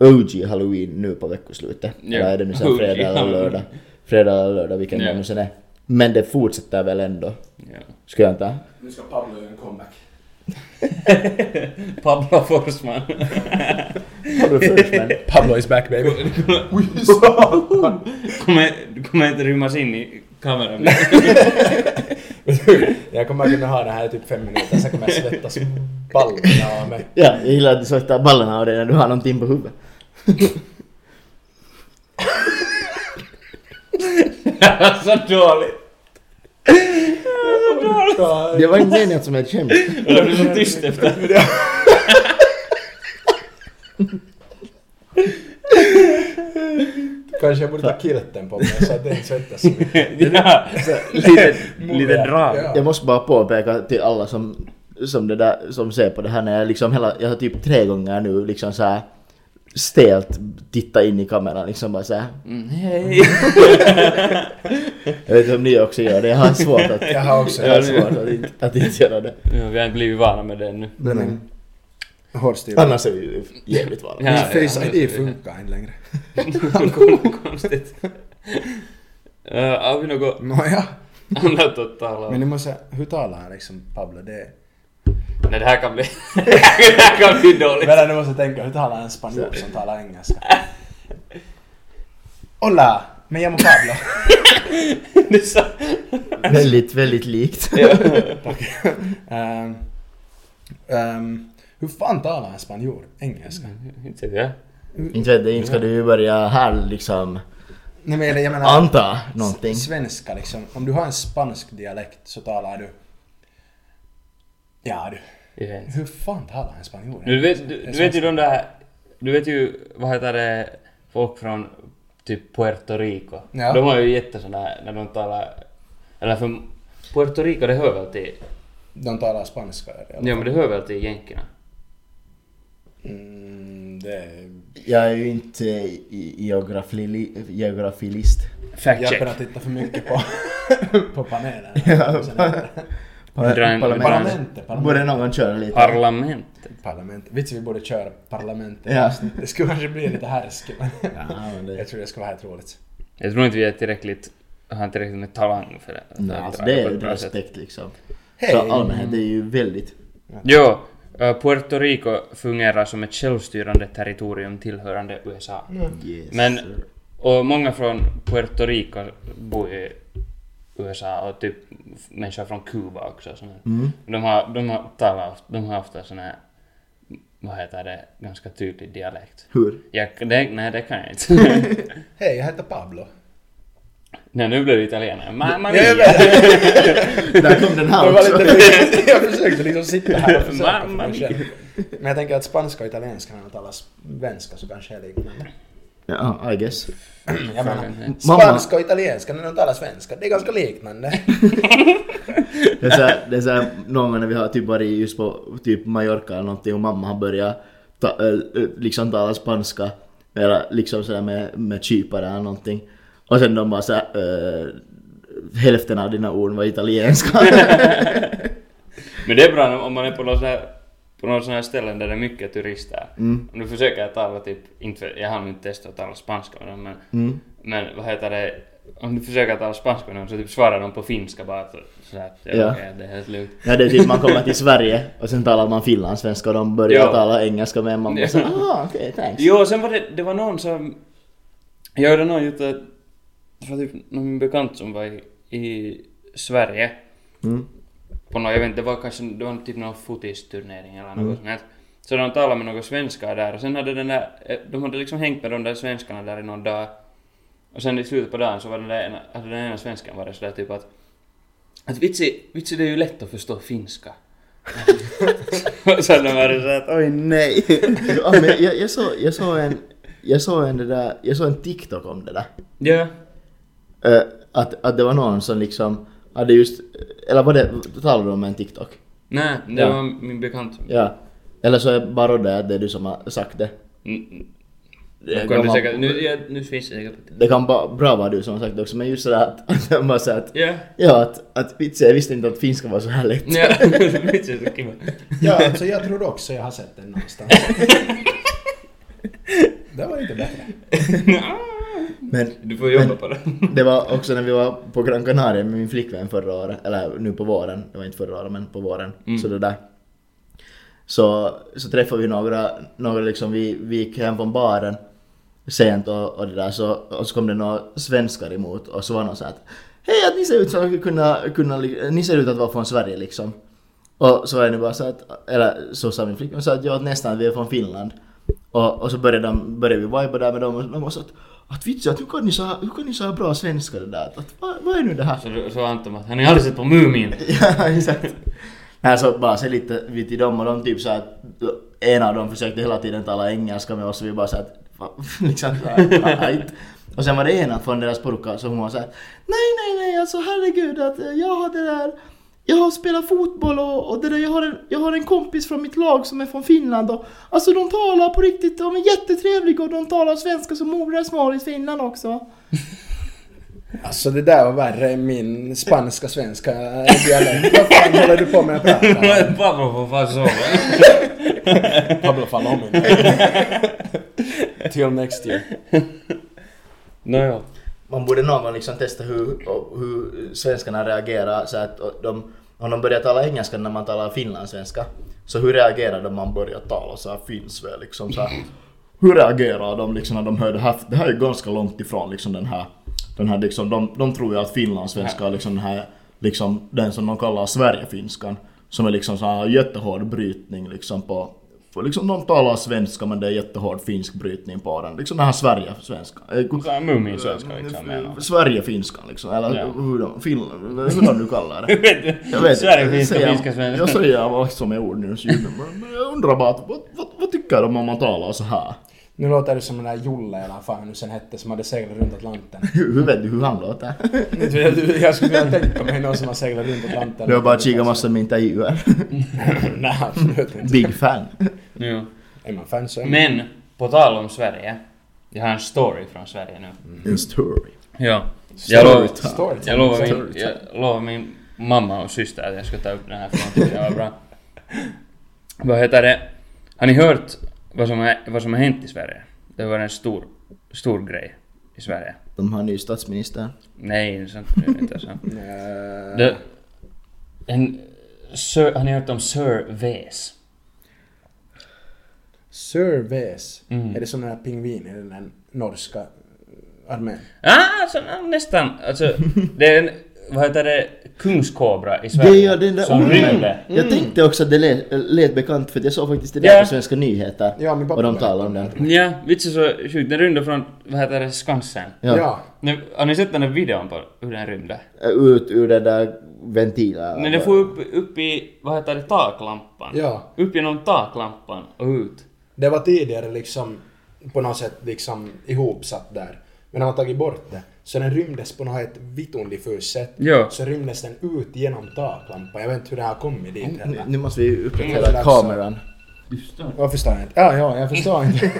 Speaker 2: OG halloween nu på veckoslutet.
Speaker 3: Ja.
Speaker 2: Eller är det nu sen
Speaker 3: OG
Speaker 2: fredag eller
Speaker 3: halloween.
Speaker 2: lördag? Fredag eller lördag, vilken
Speaker 3: Ja.
Speaker 2: det nu sen är. Men det fortsätter väl ändå,
Speaker 3: Ja.
Speaker 2: skulle jag anta.
Speaker 1: Nu ska Pablo göra en comeback.
Speaker 3: Pablo Forsman.
Speaker 2: Har du först men?
Speaker 1: Pablo is back baby.
Speaker 3: Kommer- Du kommer inte rymmas in i kameran.
Speaker 1: jag kommer kunna ha den här i typ fem minuter, sen kommer jag svettas ballarna av mig.
Speaker 2: Ja, jag gillar att du svettar ballarna av dig när du har någonting på huvudet.
Speaker 3: så dåligt.
Speaker 2: Det var inte meningen som ett skämt.
Speaker 3: Och det blir så tyst efter.
Speaker 1: Kanske jag borde ta kilten på mig så att den svettas så mycket.
Speaker 3: Ja, lite, lite drag.
Speaker 1: Ja.
Speaker 2: Jag måste bara påpeka till alla som, som, det där, som ser på det här när jag liksom hela, jag har typ tre gånger nu liksom så här stelt titta in i kameran liksom bara såhär.
Speaker 3: Mm, hej!
Speaker 2: Jag vet inte om ni också gör det, jag har svårt att,
Speaker 1: Jag har också-
Speaker 2: jag har svårt att, inte, att inte göra det.
Speaker 3: ja, vi har inte blivit vana med det ännu.
Speaker 1: Den är hårdstil. Min
Speaker 2: Annars är vi ju jävligt vana.
Speaker 3: Ja,
Speaker 1: face
Speaker 3: ja.
Speaker 1: ID funkar inte längre.
Speaker 3: Kolla konstigt. Uh, har vi något
Speaker 1: Nåja.
Speaker 3: annat att tala
Speaker 1: Men
Speaker 3: om?
Speaker 1: nu måste jag, hur talar han liksom Pablo? Det är...
Speaker 3: Nej, det här kan bli... det här kan bli dåligt.
Speaker 1: Vänta, nu måste jag tänka. Hur talar en spanjor som talar engelska? Hola! Me llamo Pablo.
Speaker 3: Det är så-
Speaker 2: Väldigt, väldigt likt.
Speaker 3: Ja.
Speaker 1: Ehm, ehm, hur fan talar en spanjor engelska?
Speaker 3: Inte vet jag.
Speaker 2: Inte vet jag, inte ska du ju börja här liksom
Speaker 1: Nej men jag menar...
Speaker 2: anta någonting.
Speaker 1: Svenska liksom. Om du har en spansk dialekt så talar du... Ja du.
Speaker 3: Jag vet inte.
Speaker 1: Hur fan talar en spanjor?
Speaker 3: Du vet, du, du vet ju de där... Du vet ju, vad heter det, folk från typ Puerto Rico.
Speaker 1: Ja.
Speaker 3: De har ju jättesåna här när de talar... Eller för Puerto Rico, det hör väl till...
Speaker 1: De talar spanska eller?
Speaker 3: Ja, men det hör väl till jänkerna.
Speaker 1: Mm, det... är-
Speaker 2: Jag är ju inte i- geografili, geografilist.
Speaker 3: Fact
Speaker 1: Jag
Speaker 3: check.
Speaker 1: börjar titta för mycket på, på panelen.
Speaker 2: Ja.
Speaker 1: Sen är det-
Speaker 3: Dra-
Speaker 1: Parlamentet, parlamentet.
Speaker 2: Borde någon köra lite?
Speaker 3: Parlamentet.
Speaker 1: Parlament. Vitsi vi borde köra parlamentet.
Speaker 2: Ja. alltså,
Speaker 1: Det skulle kanske bli lite härsk men...
Speaker 2: Ja, men det-
Speaker 1: Jag tror det skulle vara helt roligt.
Speaker 3: Jag tror inte vi är tillräckligt... Har tillräckligt med talang för det.
Speaker 2: Nej,
Speaker 3: Att
Speaker 2: alltså
Speaker 3: dra
Speaker 2: det är
Speaker 3: på ett
Speaker 2: ju
Speaker 3: bra sätt.
Speaker 2: respekt liksom.
Speaker 1: Hej!
Speaker 2: Så allmänhet, det är ju väldigt...
Speaker 3: Jo, eh, Puerto Rico fungerar som ett självstyrande territorium tillhörande USA.
Speaker 2: Yes.
Speaker 3: Men, och många från Puerto Rico bor ju i USA och typ människor från Kuba också. och såna här.
Speaker 2: Mm.
Speaker 3: De har, de har talat, ofta- de har ofta sån här, vad heter det, ganska tydlig dialekt.
Speaker 2: Hur?
Speaker 3: Jag, det, nej, det kan jag inte.
Speaker 1: Hej, jag heter Pablo.
Speaker 3: nej, nu blev det italienare. Mamma
Speaker 1: Ja,
Speaker 3: mia!
Speaker 1: jag vet.
Speaker 2: Där kom den
Speaker 1: Det
Speaker 2: här
Speaker 1: var
Speaker 2: också.
Speaker 1: lite, jag försökte liksom sitta här och försöka för
Speaker 3: Mamma
Speaker 1: mig själv. Men jag tänker att spanska och italienska när man talar svenska så kanske är liknande.
Speaker 2: Ja, I guess.
Speaker 1: Jag menar,
Speaker 2: Mamma.
Speaker 1: spanska och italienska när de talar svenska, det är ganska liknande.
Speaker 2: Det är, så här, det är så här, någon gång när vi har typ varit just på typ Mallorca eller någonting och mamma har börjat ta, äh, äh, liksom tala spanska eller liksom sådär med, med kypare eller någonting. Och sen de bara såhär, äh, hälften av dina ord var italienska.
Speaker 3: Men det är bra om man är på någon sån här, på någon sån här ställen där det är mycket turister. Om du försöker tala typ, inte för, jag har nu inte testat att tala spanska med dem men, men vad heter det, om du försöker tala spanska med dem så typ svarar de på finska bara att, så här, att ja,
Speaker 2: Ja.
Speaker 3: okej, det är helt lugnt.
Speaker 2: ja, det är typ man kommer till Sverige och sen talar man finlandssvenska och de börjar
Speaker 3: Ja.
Speaker 2: tala engelska med en mamma och så här, ah okej thanks.
Speaker 3: Jo, sen var det, det var någon som... Jag hörde någon gjort att... Det var typ någon bekant som var i, i Sverige.
Speaker 2: Mm.
Speaker 3: På någon, jag vet inte, det var kanske det var typ någon fotisturnering eller något sånt här. Så de talade med några svenskar där och sen hade den där... eh, De hade liksom hängt med de där svenskarna där i någon dag. Och sen i slutet på dagen så var den där ena, hade den ena svenskan varit sådär typ att... Att vitsi, vitsi det är ju lätt att förstå finska. och sen de var det såhär att
Speaker 2: Oj nej! ja, men jag, jag, såg, jag såg en, jag såg en det där, jag såg en TikTok om det där.
Speaker 3: ja.
Speaker 2: Eh, att, att det var någon som liksom hade just, eller var det, talade du om en TikTok?
Speaker 3: Nej, det
Speaker 2: Ja.
Speaker 3: var min bekant.
Speaker 2: Ja. Eller så är bara det att det är du som har sagt det.
Speaker 3: Mm,
Speaker 2: Det
Speaker 3: kan
Speaker 2: kan,
Speaker 3: du
Speaker 2: vara-
Speaker 3: säkert, nu, ja, nu finns det säkert.
Speaker 2: det kan bara, bra vara du som har sagt det också men just sådär att, att jag bara säger att,
Speaker 3: Ja.
Speaker 2: ja att, att vitsen, jag visste inte att finska var så här lätt.
Speaker 3: Ja, vitsi se kiva.
Speaker 1: Ja, alltså jag tror också jag har sett den någonstans. Det var inte bättre.
Speaker 2: Men
Speaker 3: Du får jobba på det.
Speaker 2: det var också när vi var på Gran Canaria med min flickvän förra året, eller nu på våren, det var inte förra året men på våren. Så det där. Så, så träffade vi några, några liksom, vi, vi gick hem från baren sent och, och det där så, och så kom det några svenskar emot och så var någon så här att Hej att ni ser ut som att kunna, kunna, li- ni ser ut att vara från Sverige liksom. Och så var jag nu bara så att, eller så sa min flickvän så att jag nästan att vi är från Finland. Och, och så började, de, började vi viba där med dem och de var så att att vitsi, att hur kan ni så här, hur kan ni så här bra svenska det där? Att, att, vad, vad är nu det här?
Speaker 3: Så, du- så Anton bara, han har aldrig sett på Mumin.
Speaker 2: Ja, exakt. Nej, så alltså, bara se lite vi till dem och de typ så att en av dem försökte hela tiden tala engelska med oss och vi bara så att va- liksom så här, right. Och sen var det ena från deras purka så hon var så här, nej nej nej alltså herregud att eh, jag har det där jag spelar fotboll och, och det där, jag, har en, jag har en kompis från mitt lag som är från Finland och alltså de talar på riktigt, de är jättetrevliga och de talar svenska som modersmål i Finland också.
Speaker 1: Alltså det där var värre än min spanska-svenska dialekt. Vad fan håller du på med att prata om?
Speaker 3: Pablo får fan sova.
Speaker 1: Pablo Falomin. Till next year.
Speaker 3: Nåja.
Speaker 2: Man borde någon gång liksom testa hur, och hur svenskarna reagerar så att och de, om de börjar tala engelska när man talar finlandssvenska, så hur reagerar de om man börjar tala så här finska liksom så här, Hur reagerar de liksom när de hör det här? Det här är ganska långt ifrån liksom den här, den här liksom, de, de tror ju att finlandssvenska är liksom den här, liksom den som de kallar Sverigefinskan, som är liksom så här jättehård brytning liksom på på liksom de talar svenska men det är jättehård finsk brytning på den. Liksom den här Sverige-svenska. Eh,
Speaker 3: Så här Mumin-svenska liksom menar du?
Speaker 2: Sverigefinskan liksom, eller
Speaker 3: Ja.
Speaker 2: hur, de, Finland, hur de nu kallar det. Jag vet inte.
Speaker 3: Sverigefinska,
Speaker 2: Säger-
Speaker 3: finska,
Speaker 2: Jag
Speaker 3: svenska.
Speaker 2: säger vad som är ord nu, så jag men jag undrar bara att, vad, vad, vad tycker de om man talar så här?
Speaker 1: Nu låter det som den där Jolle eller vad fan han nu sen hette som hade seglat runt Atlanten.
Speaker 2: Hur hur vet du hur han låter?
Speaker 1: Jag skulle vilja tänka mig någon som har seglat runt Atlanten.
Speaker 2: Du har bara kikat massor med intervjuer.
Speaker 1: Nej, absolut inte.
Speaker 2: Big fan.
Speaker 3: Ja.
Speaker 1: Är man fan så är man.
Speaker 3: Men, på tal om Sverige. Jag har en story från Sverige nu.
Speaker 2: En story.
Speaker 3: Ja.
Speaker 2: Story
Speaker 3: Jag, lov,
Speaker 2: time.
Speaker 1: Story
Speaker 3: jag, lovar
Speaker 1: time.
Speaker 3: min, jag lovar min mamma och syster att jag ska ta upp den här för jag tyckte den var bra. Vad heter det? Har ni hört vad som, har- vad som har hänt i Sverige? Det var en stor, stor grej i Sverige.
Speaker 2: De har en ny statsminister.
Speaker 3: Nej, sånt är det inte. Så.
Speaker 1: Eh,
Speaker 3: Det, en, sir, har ni hört om Sir Ves?
Speaker 1: Surveys.
Speaker 3: Mm.
Speaker 1: Är det såna där pingviner i den där norska armén?
Speaker 3: Ah, alltså, na- nästan. Alltså, det är en, vad heter det, kungskobra i Sverige.
Speaker 2: Det är den där Mm.
Speaker 3: som rymde. Mm.
Speaker 2: Jag tänkte också att det lät, lät bekant för att jag såg faktiskt det
Speaker 3: Ja.
Speaker 2: där på Svenska nyheter.
Speaker 1: Ja, min pappa
Speaker 2: och de
Speaker 1: berättade
Speaker 2: talar om det.
Speaker 3: Ja, vitsen så sjukt. Den rymde från, vad heter det, Skansen.
Speaker 1: Ja.
Speaker 2: Ja.
Speaker 3: Nu, har ni sett den där videon på hur den rymde?
Speaker 2: Ut ur den där ventilen.
Speaker 3: När den får upp, upp i, vad heter det, taklampan.
Speaker 1: Ja.
Speaker 3: Upp genom taklampan och ut.
Speaker 1: Det var tidigare liksom på något sätt liksom ihopsatt där. Men när man tagit bort det så den rymdes på något helt vitton diffust sätt.
Speaker 3: Ja.
Speaker 1: Så rymdes den ut genom taklampan. Jag vet inte hur det har kommit dit
Speaker 2: Nu,
Speaker 3: mm.
Speaker 1: heller.
Speaker 2: nu måste vi
Speaker 1: Mm, det
Speaker 2: uppdatera
Speaker 1: är dags.
Speaker 2: kameran.
Speaker 3: Du förstår.
Speaker 1: Jag förstår inte. Ja, ja, jag förstår inte.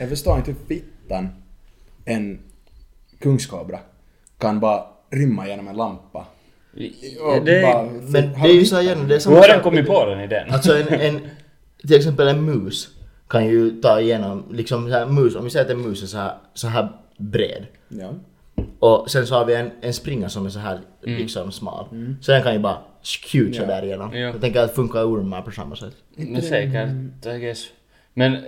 Speaker 1: jag förstår inte hur fittan en kungskobra kan bara rymma genom en lampa.
Speaker 3: Ja, det är...
Speaker 2: Men det är ju så igen, det är
Speaker 3: Hur
Speaker 2: samma
Speaker 3: har den
Speaker 2: sak-
Speaker 3: kommit på den idén?
Speaker 2: Alltså en, en, till exempel en mus kan ju ta igenom, liksom så här mus, om vi säger att en mus är så här, så här bred.
Speaker 1: Ja.
Speaker 2: Och sen så har vi en, en springa som är så här liksom smal. Så den kan ju bara skjuta
Speaker 1: Ja.
Speaker 2: där igenom.
Speaker 3: Mm. Ja.
Speaker 2: Jag tänker att funkar ormar på samma sätt.
Speaker 3: No, säkert, I guess. Men eh,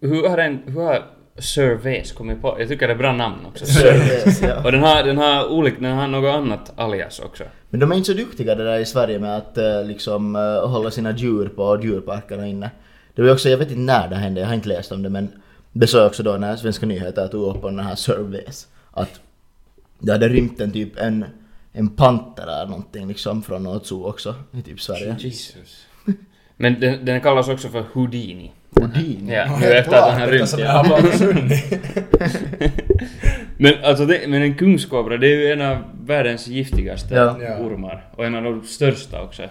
Speaker 3: hur har den, hur har Surveys kommit på? Jag tycker det är bra namn också.
Speaker 2: Ja.
Speaker 3: Och den har, den har olika, den har något annat alias också.
Speaker 2: Men de är inte så duktiga det där i Sverige med att eh, liksom eh, hålla sina djur på djurparkerna inne. Det var ju också, jag vet inte när det hände, jag har inte läst om det men det sa jag också då när Svenska nyheter tog upp om den här surveys. Att det hade rymt en typ en, en panter eller någonting liksom från något zoo också i typ Sverige.
Speaker 3: Jesus. Men den, den kallas också för Houdini.
Speaker 2: Houdini.
Speaker 3: Ja, nu efter att den har rymt. ja. Men alltså det, men en kungskobra det är ju en av världens giftigaste
Speaker 2: Ja.
Speaker 1: Ja.
Speaker 3: ormar. Och en av de största också.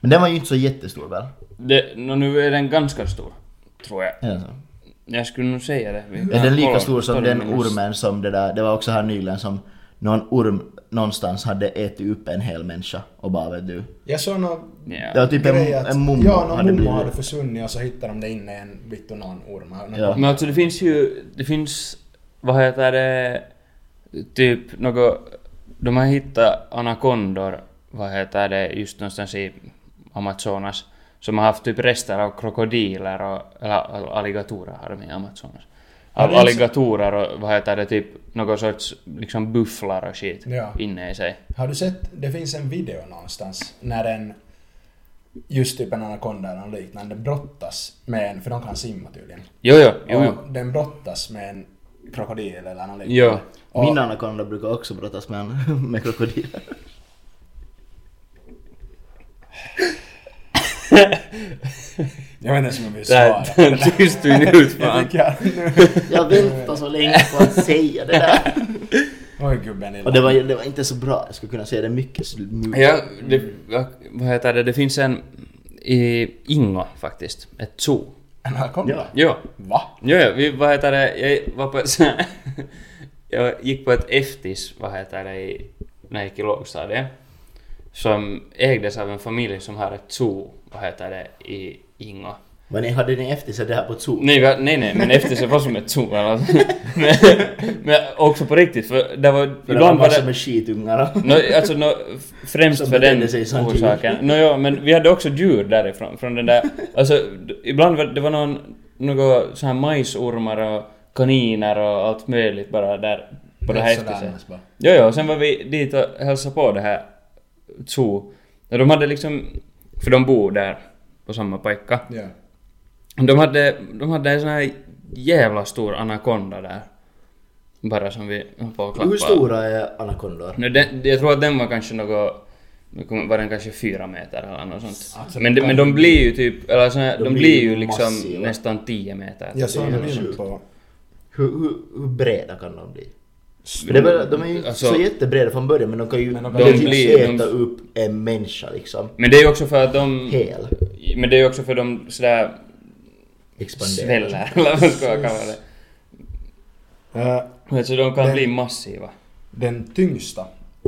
Speaker 2: Men den var ju inte så jättestor väl?
Speaker 3: Det, nå, nu är den ganska stor. Tror jag.
Speaker 2: Är den så?
Speaker 3: Jag skulle nog säga det. Vi
Speaker 2: Är
Speaker 3: kan
Speaker 2: den
Speaker 3: kolla
Speaker 2: lika stor som
Speaker 3: storyn
Speaker 2: den
Speaker 3: minst.
Speaker 2: ormen som det där, det var också här nyligen som någon orm någonstans hade ätit upp en hel människa och bara vet du.
Speaker 1: Jag såg någon
Speaker 3: Ja.
Speaker 2: Det var typ en,
Speaker 1: grej att-
Speaker 2: en mumma
Speaker 1: Ja, någon
Speaker 2: hade
Speaker 1: mumma
Speaker 2: blivit.
Speaker 1: hade försvunnit och så hittade de det inne i en vitt och någon orm. Någon
Speaker 2: Ja.
Speaker 3: Men alltså det finns ju, det finns, vad heter det, typ något, de har hittat anakondor, vad heter det, just någonstans i Amazonas, som har haft typ rester av krokodiler och, eller alligatorer har de i Amazonas. Av
Speaker 1: det är så-
Speaker 3: alligatorer och vad heter det, typ någon sorts liksom bufflar och skit
Speaker 1: Ja.
Speaker 3: inne i sig.
Speaker 1: Har du sett, det finns en video någonstans när en just typ en anakonda eller något liknande brottas med en, för de kan simma tydligen.
Speaker 3: Jo, jo, jo, jo.
Speaker 1: Och den brottas med en krokodil eller något liknande.
Speaker 3: Jo.
Speaker 1: Och,
Speaker 2: Min anakonda brukar också brottas med, en- med krokodiler.
Speaker 1: Jag vet inte ens om jag vill
Speaker 3: Det
Speaker 1: svara. på det
Speaker 3: här
Speaker 1: där.
Speaker 3: tyst minut
Speaker 1: Jag
Speaker 3: fan.
Speaker 1: tycker att nu-
Speaker 2: Jag väntar så länge på att säga det där.
Speaker 1: Oj gubben illa.
Speaker 2: Och det var, det var inte så bra, jag skulle kunna säga det mycket smooth.
Speaker 3: Ja, det, ja, vad heter det? Det finns en i Ingo faktiskt. Ett zoo.
Speaker 1: Anaconda?
Speaker 2: Ja.
Speaker 3: Ja.
Speaker 1: Va?
Speaker 3: Jo, jo, vi, vad heter det? Jag var på ett sånt här- Jag gick på ett Eftis, vad heter det, i, när jag gick i lågstadiet. Som ägdes av en familj som har ett zoo, vad heter det, i Ingo.
Speaker 2: Vad ni hade ni efter sig det här på ett zoo?
Speaker 3: Nej, va- nej, nej, men Eftis var som ett zoo eller men, men också på riktigt, för det var...
Speaker 2: För det var
Speaker 3: var
Speaker 2: massor
Speaker 3: det,
Speaker 2: med skitungar och...
Speaker 3: no, alltså, no, främst
Speaker 2: Som
Speaker 3: för den
Speaker 2: betedde sig samtidigt.
Speaker 3: orsaken. No, ja, men vi hade också djur därifrån, från den där... Alltså, d- ibland var det var någon, några så här majsormar och kaniner och allt möjligt bara där på det här
Speaker 1: Sådär
Speaker 3: eftersätet.
Speaker 1: annars bara.
Speaker 3: Jo, jo, sen var vi dit och hälsade på det här zoo. Och de hade liksom... För de bor där på samma pojka.
Speaker 1: Ja.
Speaker 3: De hade, de hade en sån här jävla stor anakonda där. Bara som vi höll på och klappade.
Speaker 2: Hur stora är anakondor?
Speaker 3: Nu, den, jag tror att den var kanske något... Nu kommer- var den kanske fyra meter eller något sånt.
Speaker 1: Alltså,
Speaker 3: men, de, men de blir ju typ... Eller såna, de,
Speaker 2: De blir
Speaker 3: blir ju
Speaker 2: ju
Speaker 3: liksom
Speaker 2: massiva.
Speaker 3: nästan tio meter.
Speaker 1: Jag såg
Speaker 2: är
Speaker 1: en
Speaker 2: helt
Speaker 1: bild
Speaker 2: sjukt.
Speaker 1: på...
Speaker 2: Hur, hur, hur breda kan de bli? Men det är väl, de är ju inte
Speaker 3: Alltså-
Speaker 2: så jättebreda från början men de kan ju
Speaker 1: Men de kan-
Speaker 2: de
Speaker 1: de
Speaker 3: blir-
Speaker 2: äta
Speaker 3: de-
Speaker 2: upp en människa liksom.
Speaker 3: Men det är ju också för att de...
Speaker 2: Hel.
Speaker 3: Men det är ju också för att de sådär
Speaker 2: Expanderar.
Speaker 3: sväller, eller vad man ska kalla det.
Speaker 1: Eh,
Speaker 3: Alltså de kan
Speaker 1: Men-
Speaker 3: bli massiva.
Speaker 1: Den tyngsta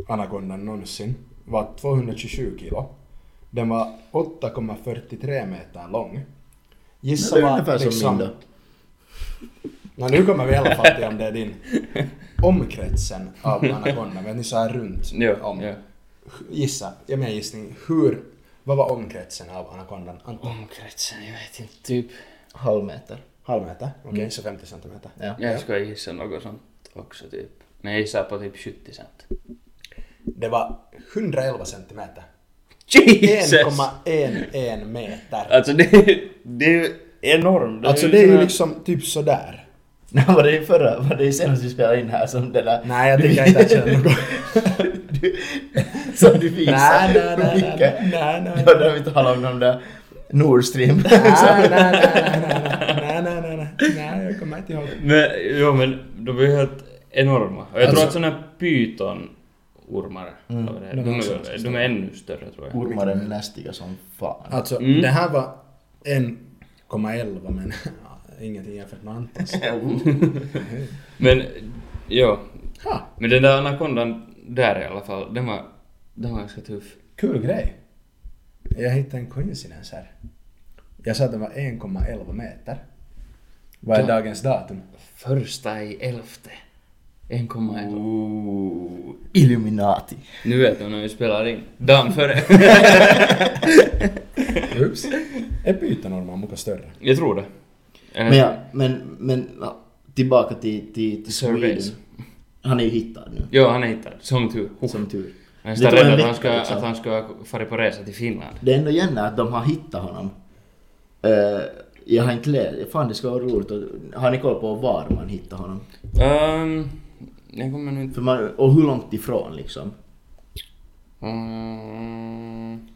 Speaker 1: anakondan någonsin var 227 kilo. Den var 8,43 meter lång.
Speaker 2: Det
Speaker 1: Gissa
Speaker 2: är
Speaker 1: vad
Speaker 2: ungefär som
Speaker 1: liksom...
Speaker 2: min då.
Speaker 1: Nå, nu kommer vi i alla fall till om det är din. Omkretsen av anakondan, vet ni så här runt
Speaker 3: Jo,
Speaker 1: om.
Speaker 3: jo.
Speaker 1: Gissa, jag menar gissning. Hur, vad var omkretsen av anakondan? Anton?
Speaker 3: Omkretsen, jag vet inte, typ.
Speaker 2: Halv meter.
Speaker 1: Halv meter? Okej, så 50 centimeter.
Speaker 2: Ja.
Speaker 3: Jag ska gissa något sånt också typ. Men jag gissar på typ 70 cent.
Speaker 1: Det var 111 centimeter.
Speaker 3: Jesus!
Speaker 1: 1,11 meter.
Speaker 3: Alltså det är, det är ju enormt.
Speaker 1: Alltså
Speaker 3: ju
Speaker 1: det är ju
Speaker 3: såna-
Speaker 1: liksom typ sådär.
Speaker 2: Nej, var det i förra, var det i senast vi spelade in här som den där...
Speaker 1: Nej, jag tycker inte att jag känner något.
Speaker 2: Du- som du visade.
Speaker 1: Nej, nej, nej,
Speaker 2: Micke.
Speaker 1: nej, nej, nej.
Speaker 2: Ja, där vi talade om de där Nord Stream.
Speaker 1: Nej, nej, nej, nej, nej, nej, nej, nej, nej, jag kommer inte ihåg.
Speaker 3: Men, jo men de är ju helt enorma. Och
Speaker 2: Alltså-
Speaker 3: jag
Speaker 2: Mm.
Speaker 3: tror att såna pytonormar, vad det är, de, är- de är ännu större tror jag.
Speaker 2: Ormar är lästiga som fan.
Speaker 1: Alltså,
Speaker 3: Mm.
Speaker 1: det här var 1,11 men ingenting jämfört med Antons.
Speaker 2: Oh.
Speaker 3: Men, jo.
Speaker 1: Ha,
Speaker 3: Men den där anakondan där i alla fall, den var, den var ganska tuff.
Speaker 1: kul grej. Jag hittade en coincidence här. Jag sa att den var 1,11 meter. Vad är
Speaker 3: Ja.
Speaker 1: dagens datum?
Speaker 3: Första i elfte. 1,1.
Speaker 2: Mm. Ooh, Illuminati.
Speaker 3: Nu vet du när vi spelar in. Dagen före.
Speaker 1: Ups. Är pytonormen mycket större?
Speaker 3: jag tror det. Eh,
Speaker 2: Men ja, men, men ja, tillbaka till, till, till Sweden.
Speaker 3: Surveys.
Speaker 2: Han är ju hittad nu.
Speaker 3: Jo, han är hittad. Som tur. Huh.
Speaker 2: Som tur.
Speaker 3: Oh. Jag
Speaker 2: Det
Speaker 3: är nästan
Speaker 2: tog en
Speaker 3: rädd att
Speaker 2: vecka,
Speaker 3: han ska,
Speaker 2: liksom.
Speaker 3: att han ska fara på resa till Finland.
Speaker 2: Det enda gärna är att de har hittat honom. Eh, jag har inte läst. Fan det ska vara roligt. att- Har ni koll på var man hittar honom?
Speaker 3: Ehm... jag kommer nu inte...
Speaker 2: För man, och hur långt ifrån liksom?
Speaker 3: Mm,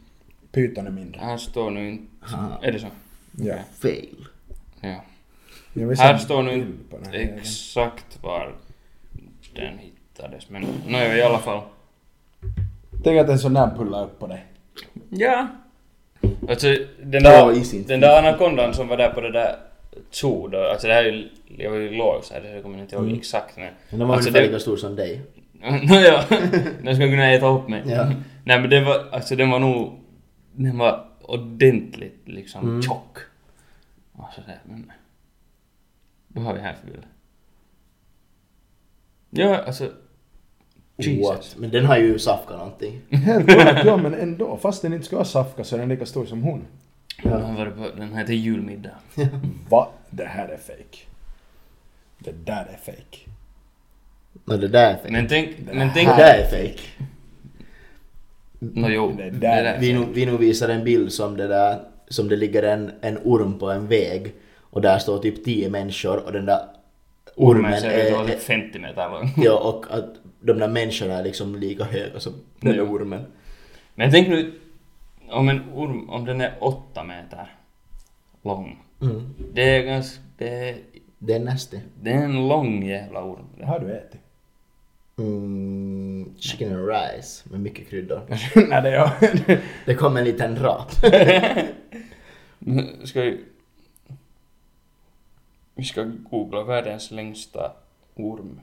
Speaker 1: Pyton är mindre.
Speaker 3: här står nu inte...
Speaker 2: Haha,
Speaker 3: Är det så?
Speaker 1: Ja.
Speaker 2: fail.
Speaker 3: Ja.
Speaker 1: Jag vill se
Speaker 3: Här
Speaker 1: en
Speaker 3: står nu
Speaker 1: bild på den
Speaker 3: inte
Speaker 1: här.
Speaker 3: exakt var den hittades men... Nåja, i alla fall.
Speaker 1: Tänk att en sån där pullar upp på dig.
Speaker 3: Ja. Alltså den
Speaker 2: Ja,
Speaker 3: där,
Speaker 2: i sin
Speaker 3: den där anakondan som var där på det där zoo då, alltså det här är ju, jag var ju låg så här, det här kommer jag inte ihåg exakt men...
Speaker 2: Mm. Men de var
Speaker 3: alltså,
Speaker 2: ungefär
Speaker 3: det-
Speaker 2: lika stor som dig.
Speaker 3: Nåja, den skulle kunna äta upp mig.
Speaker 2: Ja.
Speaker 3: Nej men det var, alltså den var nog, den var ordentligt liksom
Speaker 2: Mm.
Speaker 3: tjock. Och så där, men... Vad har vi här för bild? Ja, alltså... Jesus.
Speaker 2: What? Men den har ju Safka någonting.
Speaker 1: Helt korrekt, ja men ändå. Fast den inte ska ha Safka så är den lika stor som hon.
Speaker 3: Den har varit på, den heter julmiddag.
Speaker 1: Va? Det här är fake. Det där är fake.
Speaker 2: Men det där är fake.
Speaker 3: Men tänk, men
Speaker 2: det
Speaker 3: tänk...
Speaker 2: där är fake.
Speaker 3: Nå jo,
Speaker 1: Det
Speaker 3: det
Speaker 1: där-
Speaker 3: där.
Speaker 2: Vi nog, vi nog visar en bild som det där, som det ligger en, en orm på en väg och där står typ tio människor och den där ormen
Speaker 3: Ormen ser ut att vara
Speaker 2: är,
Speaker 3: typ
Speaker 2: är
Speaker 3: 50 meter lång.
Speaker 2: ja, och att de där människorna är liksom lika höga som den där ormen.
Speaker 3: Men tänk nu om en orm, om den är 8 meter lång.
Speaker 2: Mm.
Speaker 3: Det är ganska, det är,
Speaker 2: Det är nasty.
Speaker 3: det är en lång jävla orm.
Speaker 1: Det har du ätit.
Speaker 2: Mm, chicken and rice med mycket kryddor.
Speaker 1: Nej, det är jag.
Speaker 2: Det kom en liten rap.
Speaker 3: Nu Ska vi... Vi ska googla världens längsta orm.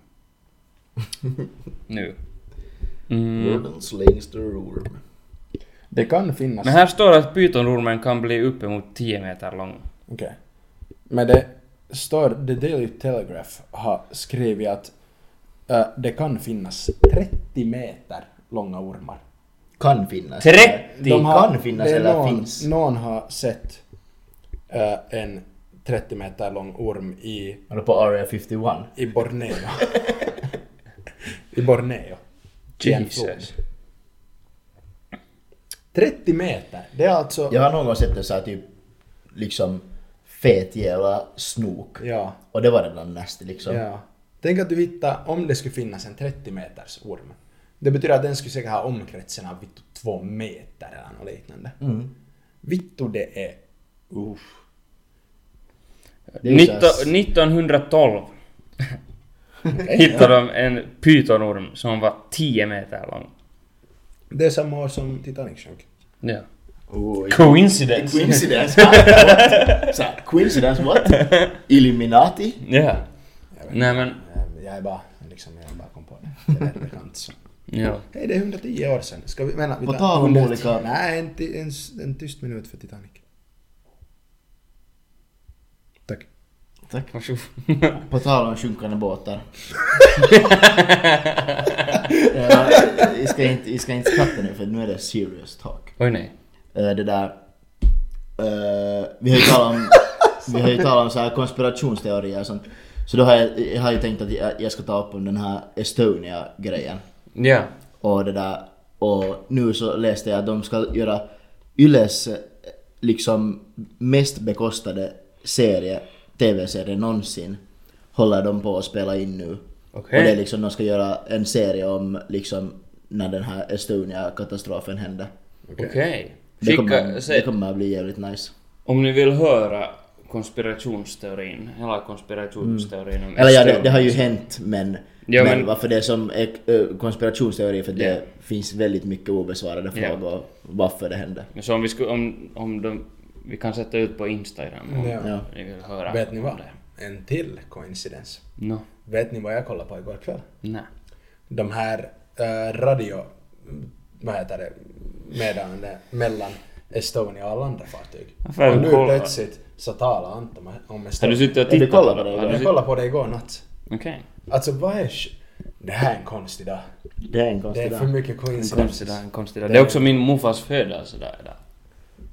Speaker 3: nu. Mm.
Speaker 2: Världens längsta orm.
Speaker 1: Det kan finnas.
Speaker 3: Men här står att pytonormen kan bli uppemot 10 meter lång.
Speaker 1: Okej. Men det står, The Daily Telegraph har skrivit att eh, det kan finnas 30 meter långa ormar.
Speaker 2: Kan finnas.
Speaker 3: Trettio!
Speaker 2: De
Speaker 1: har-
Speaker 2: kan finnas
Speaker 1: det är
Speaker 2: eller
Speaker 1: någon,
Speaker 2: finns.
Speaker 1: Någon har sett eh, en 30 meter lång orm i,
Speaker 2: Har du på Area 51?
Speaker 1: i Borneo. I Borneo. I en flod.
Speaker 3: Jesus.
Speaker 1: 30 meter! Det är alltså...
Speaker 2: Jag har någon gång sett en sån här typ liksom fet jävla snok.
Speaker 1: Ja.
Speaker 2: Och det var redan nasty liksom.
Speaker 1: ja. Tänk att du hittar, om det skulle finnas en 30 meters orm. Det betyder att den skulle säkert ha omkretsen av vittu två meter eller något liknande.
Speaker 2: Mm.
Speaker 1: Vittu det är... Uff.
Speaker 2: Det är ju så här-
Speaker 3: 19, 1912 hittade de en pytonorm som var 10 meter lång.
Speaker 1: Det är samma år som Titanic sjönk.
Speaker 3: Ja.
Speaker 2: Oh,
Speaker 3: Coincidence!
Speaker 2: Coincidence? What? Så här, coincidence what? Illuminati?
Speaker 3: Ja. Nej men,
Speaker 1: Eh, Jag är bara, liksom, jag bara kom på det. Det är bekant så.
Speaker 3: ja.
Speaker 1: Hej, det är 110 år sedan. Ska vi, vänta, vi
Speaker 2: På
Speaker 1: tar
Speaker 2: tal om
Speaker 1: 110
Speaker 2: olika-
Speaker 1: Nej, en, ti- en, s- en tyst minut för Titanic. Tack.
Speaker 2: Tack. På tal om sjunkande båtar. Ja, jag, ska inte, jag ska inte skratta nu för nu är det serious talk.
Speaker 3: Oj nej.
Speaker 2: Eh, det där... eh, vi har ju talat om, vi har ju talat om så här konspirationsteorier och sånt. Så då har jag, jag har ju tänkt att jag, jag ska ta upp om den här Estonia-grejen.
Speaker 3: Ja.
Speaker 2: Och det där. Och nu så läste jag att de ska göra Yles eh, liksom mest bekostade serie, TV-serie någonsin. Håller de på att spela in nu.
Speaker 3: Okej.
Speaker 2: Och det är liksom, de ska göra en serie om liksom när den här Estonia-katastrofen hände.
Speaker 1: Okej.
Speaker 3: Okej.
Speaker 2: Det
Speaker 3: Skicka,
Speaker 2: kommer, det
Speaker 3: se,
Speaker 2: kommer att bli jävligt nice.
Speaker 3: om ni vill höra konspirationsteorin, hela konspirationsteorin om
Speaker 2: Eller ja, det,
Speaker 3: Estonia.
Speaker 2: det har ju hänt men,
Speaker 3: Ja,
Speaker 2: men,
Speaker 3: men-
Speaker 2: varför det är som är eh, konspirationsteori för det
Speaker 3: Ja.
Speaker 2: finns väldigt mycket obesvarade
Speaker 3: Ja.
Speaker 2: frågor varför det hände.
Speaker 3: Men så om vi skulle, om, om de, vi kan sätta ut på Instagram om
Speaker 1: Ja.
Speaker 2: Ja.
Speaker 3: ni vill höra.
Speaker 1: Vet ni vad? En till coincidence.
Speaker 3: No.
Speaker 1: Vet ni vad jag kollade på igår kväll?
Speaker 3: Nej.
Speaker 1: De här eh, radio... Vad heter det? Medan, mellan Estonia och alla andra fartyg.
Speaker 3: Varför har
Speaker 1: och
Speaker 3: du
Speaker 1: nu
Speaker 3: kollat?
Speaker 1: plötsligt så talar Anton om
Speaker 3: Har
Speaker 1: Estonia.
Speaker 3: du suttit och
Speaker 2: Ja, du
Speaker 3: tittat
Speaker 2: kollar på det
Speaker 3: Har
Speaker 2: igår.
Speaker 3: du
Speaker 1: Jag
Speaker 3: sitt-
Speaker 1: kollade på det igår natt.
Speaker 3: Okej.
Speaker 1: Alltså vad är... sh- Det här är en konstig dag.
Speaker 2: Det är en
Speaker 1: Det
Speaker 2: konstig
Speaker 1: är för
Speaker 2: dag.
Speaker 1: mycket
Speaker 3: En
Speaker 1: coincidence.
Speaker 3: konstig dag, en konstig dag. Det är också min morfars födelse där idag.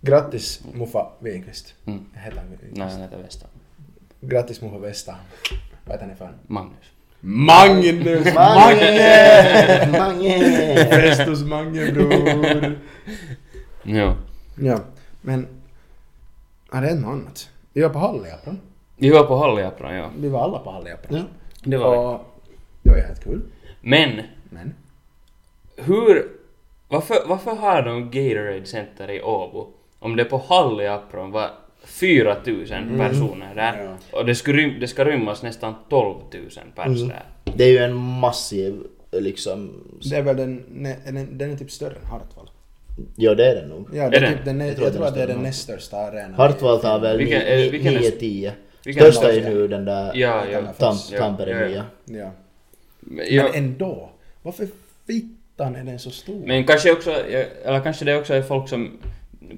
Speaker 1: Grattis Muffa Winqvist.
Speaker 3: Mm.
Speaker 1: Jag heter han Winqvist.
Speaker 3: Nej, han heter Westan.
Speaker 1: Grattis Muffa Vesta. Vad heter ni för
Speaker 3: Magnus.
Speaker 1: Magnus!
Speaker 2: Mange! Mange!
Speaker 1: Festus Mange bror!
Speaker 3: Jo.
Speaker 1: ja, men... Är det något annat? Vi var på Halliapron.
Speaker 3: Vi var på Halliapron, ja.
Speaker 1: Vi var alla på Halliapron.
Speaker 2: Ja.
Speaker 3: Det var det.
Speaker 1: Och det var helt kul.
Speaker 3: Men,
Speaker 1: Men...
Speaker 3: hur... Varför, varför har de Gatorade Center i Åbo? Om det på Halliapron var 4000 personer där
Speaker 1: Mm. Ja.
Speaker 3: och det ska, rym, det ska rymmas nästan 12 000 pers
Speaker 1: Mm.
Speaker 3: där.
Speaker 2: Det är ju en massiv liksom...
Speaker 1: Det är väl den... ne- den- Den är typ större än Hartwall.
Speaker 2: Ja det är det nog.
Speaker 1: Ja, det är,
Speaker 3: Är
Speaker 1: typ
Speaker 3: det?
Speaker 1: den, jag,
Speaker 2: Jag
Speaker 1: tror
Speaker 2: tror
Speaker 1: jag tror
Speaker 2: att
Speaker 1: att det är
Speaker 2: den
Speaker 1: den näst största arenan.
Speaker 2: Hartwall tar väl
Speaker 3: Vilken- eh, vilken är-
Speaker 2: 9-10.
Speaker 3: vilken är
Speaker 2: Största är
Speaker 3: störst?
Speaker 2: nu den där
Speaker 3: Ja,
Speaker 1: Det
Speaker 3: ja.
Speaker 1: kan vara
Speaker 2: Tam,
Speaker 1: fast.
Speaker 3: Ja,
Speaker 2: Tampere
Speaker 3: ja, ja.
Speaker 2: 9.
Speaker 1: Ja.
Speaker 3: Men,
Speaker 1: Men
Speaker 3: jag,
Speaker 1: ändå. Varför fittan är den så stor?
Speaker 3: men kanske också... Jag, eller kanske det också är folk som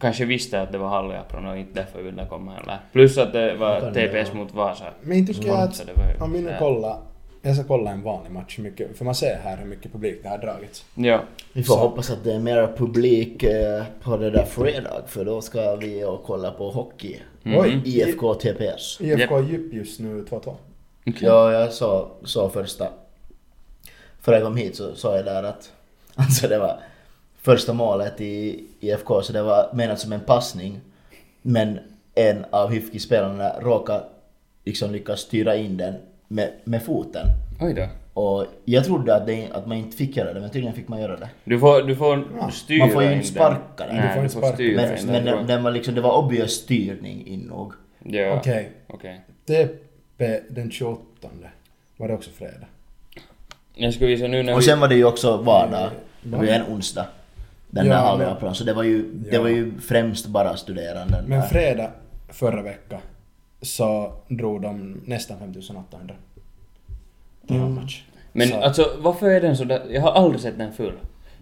Speaker 3: kanske visste att det var Halliapron och inte därför ville komma heller. Plus att det var
Speaker 2: Kan det
Speaker 3: TPS
Speaker 2: vara.
Speaker 3: mot Vasa.
Speaker 1: Men inte tycker jag
Speaker 3: Så det var ju-
Speaker 1: att om vi nu
Speaker 3: ja.
Speaker 1: kollar, jag ska kolla en vanlig match hur mycket, för man ser här hur mycket publik det har dragits.
Speaker 3: Ja.
Speaker 2: Vi får
Speaker 1: Så.
Speaker 2: hoppas att det är mera publik eh, på det där fredag för då ska vi och kolla på hockey.
Speaker 3: Mm.
Speaker 1: Oj.
Speaker 2: IFK TPS.
Speaker 1: IFK är djup just nu 2-2.
Speaker 2: Ja, jag sa, sa första... Förra jag kom hit så sa jag där att... Alltså det var första målet i IFK, så det var menat som en passning. Men en av HIFK-spelarna råkade liksom lyckas styra in den med, med foten.
Speaker 3: Oj då.
Speaker 2: Och jag trodde att, det, att man inte fick göra det, men tydligen fick man göra det.
Speaker 3: Du får, du får styra
Speaker 2: Man får ju
Speaker 3: in
Speaker 2: inte sparka den.
Speaker 3: den. Nej,
Speaker 1: Du får
Speaker 3: du
Speaker 1: inte
Speaker 3: får
Speaker 1: sparka.
Speaker 3: styra
Speaker 2: Men,
Speaker 3: in
Speaker 2: men
Speaker 3: den.
Speaker 2: den, den var liksom, det var obvious styrning in nog.
Speaker 3: Ja.
Speaker 1: Okej,
Speaker 3: Okej.
Speaker 1: TP den 28. Var det också fredag?
Speaker 3: Jag skulle visa nu när
Speaker 2: Och
Speaker 3: vi...
Speaker 2: sen var det ju också vardag. Det var ju
Speaker 1: Ja.
Speaker 2: en onsdag. Den
Speaker 1: Ja,
Speaker 2: där halva
Speaker 1: men-
Speaker 2: plan. Så det var ju, det
Speaker 1: Ja.
Speaker 2: var ju främst bara studeranden
Speaker 1: Men
Speaker 2: där.
Speaker 1: fredag förra veckan så drog de nästan 5800. Det var match.
Speaker 3: Mm. Men
Speaker 1: Så-
Speaker 3: alltså varför är den så där? Jag har aldrig sett den full.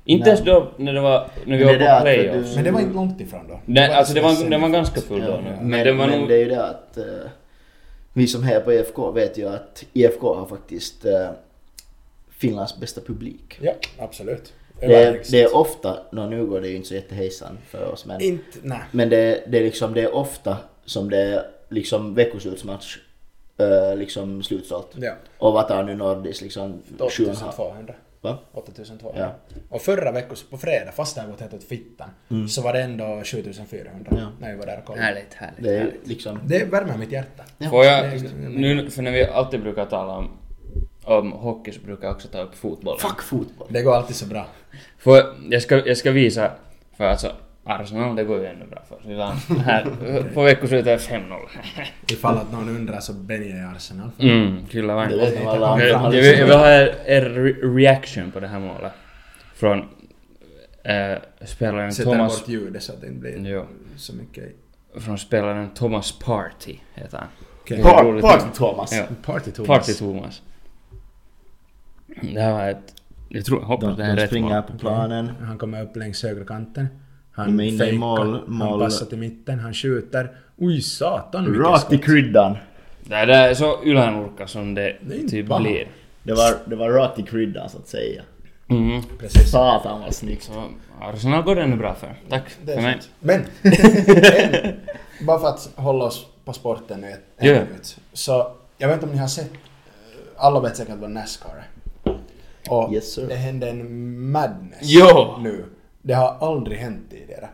Speaker 3: Inte
Speaker 2: Nej.
Speaker 3: ens då när det var... När vi
Speaker 2: Men
Speaker 3: var
Speaker 2: det är
Speaker 3: på
Speaker 2: att du-
Speaker 3: playoffs.
Speaker 1: Men det var inte långt ifrån då.
Speaker 3: Nej, alltså det var,
Speaker 1: nästan
Speaker 3: den var
Speaker 1: semifinal.
Speaker 3: ganska full då nu.
Speaker 2: Men, men,
Speaker 3: den var nog...
Speaker 2: det är ju det att eh, vi som här på IFK vet ju att IFK har faktiskt eh, Finlands bästa publik.
Speaker 1: Ja, absolut. liksom
Speaker 2: Det är,
Speaker 1: Överlägset.
Speaker 2: det är ofta, nå nu går det ju inte så jättehejsan för oss men,
Speaker 1: Inte, nej.
Speaker 2: men det, det, är liksom, det är ofta som det är liksom veckoslutsmatch, eh, liksom slutsålt.
Speaker 1: Ja.
Speaker 2: Och vad tar nu Nordis liksom? sju och en halv-
Speaker 1: 8200.
Speaker 2: Va?
Speaker 1: 8200.
Speaker 2: Ja.
Speaker 1: Och förra veckan, på fredag, fast det här gått helt åt fittan, så var det ändå 7400
Speaker 2: Mm. Ja.
Speaker 1: när vi var där och kollade.
Speaker 3: Härligt, härligt.
Speaker 2: Det är liksom...
Speaker 1: Det värmer mitt hjärta.
Speaker 2: Ja.
Speaker 3: Får jag,
Speaker 1: det är-
Speaker 3: nu, för när vi alltid brukar tala om, om hockey så brukar jag också ta upp fotbollen.
Speaker 2: Fuck fotboll!
Speaker 1: Det går alltid så bra.
Speaker 3: Får, jag, ska, jag ska visa, för alltså Arsenal det går ju ännu bra för oss. Vi vann här på veckoslutet 5-0.
Speaker 1: Ifall att någon undrar så Benny är i Arsenal.
Speaker 3: Mm, kyllä vain.
Speaker 2: Det låter som alla andra.
Speaker 3: Jag, jag, vill, jag vill ha er, er re- reaction på det här målet. Från eh, spelaren
Speaker 1: Sätter
Speaker 3: Thomas...
Speaker 1: bort ljudet så att det inte blir
Speaker 3: Jo.
Speaker 1: så mycket...
Speaker 3: Från spelaren Thomas Party heter han.
Speaker 1: Okej.
Speaker 3: Det är
Speaker 2: Par-
Speaker 3: roligt.
Speaker 2: Party Thomas!
Speaker 3: Ja.
Speaker 1: Party Thomas.
Speaker 3: Party Thomas. Det här var ett... Jag tror, jag hoppas det här är
Speaker 2: De
Speaker 3: rätt
Speaker 2: springer
Speaker 3: mål.
Speaker 2: på planen.
Speaker 1: Han kommer upp längs högerkanten.
Speaker 2: De
Speaker 1: Han
Speaker 2: är inne i
Speaker 1: fejkar.
Speaker 2: mål-
Speaker 1: Han
Speaker 2: mål.
Speaker 1: passar till mitten, han skjuter. Oj satan vilket
Speaker 2: Mm. Rakt i
Speaker 1: skott.
Speaker 2: kryddan!
Speaker 3: Nej, det är så ylänurkka som det,
Speaker 1: Det är inte
Speaker 3: typ
Speaker 1: bra.
Speaker 3: blir.
Speaker 2: Det var, det var rakt i kryddan så att säga.
Speaker 3: Mm.
Speaker 1: Precis.
Speaker 2: Satan vad snyggt!
Speaker 3: Så Arsenal går det nu bra för. Tack
Speaker 1: Det
Speaker 3: för
Speaker 1: är
Speaker 3: mig.
Speaker 1: sant. Men, men, bara för att hålla oss på sporten nu ett, en
Speaker 3: Ja.
Speaker 1: minut. Så, jag vet inte om ni har sett, eh, alla vet säkert vad Nascar är. Och
Speaker 2: Yes, sir.
Speaker 1: det hände en madness
Speaker 3: Jo!
Speaker 1: nu. Det har aldrig hänt tidigare.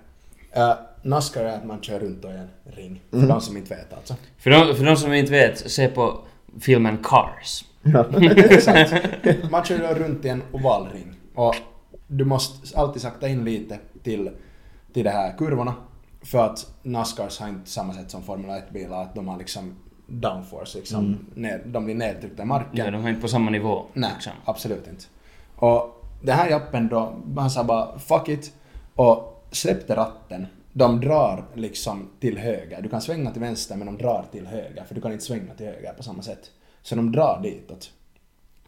Speaker 1: Uh, Nascar är att man kör runt i en ring, för
Speaker 2: Mm.
Speaker 1: de som inte vet alltså.
Speaker 3: För de, för de som inte vet, se på filmen Cars.
Speaker 1: Exakt. Man kör då runt i en ovalring och du måste alltid sakta in lite till, till de här kurvorna för att Nascars har inte samma sätt som Formel 1-bilar att de har liksom downforce, liksom, ner, de blir nedtryckta i marken.
Speaker 3: Mm. Ja, de är inte på samma nivå.
Speaker 1: Nej,
Speaker 3: liksom.
Speaker 1: absolut inte. Och den här jappen då, han sa bara fuck it och släppte ratten. De drar liksom till höger. Du kan svänga till vänster men de drar till höger för du kan inte svänga till höger på samma sätt. Så de drar ditåt.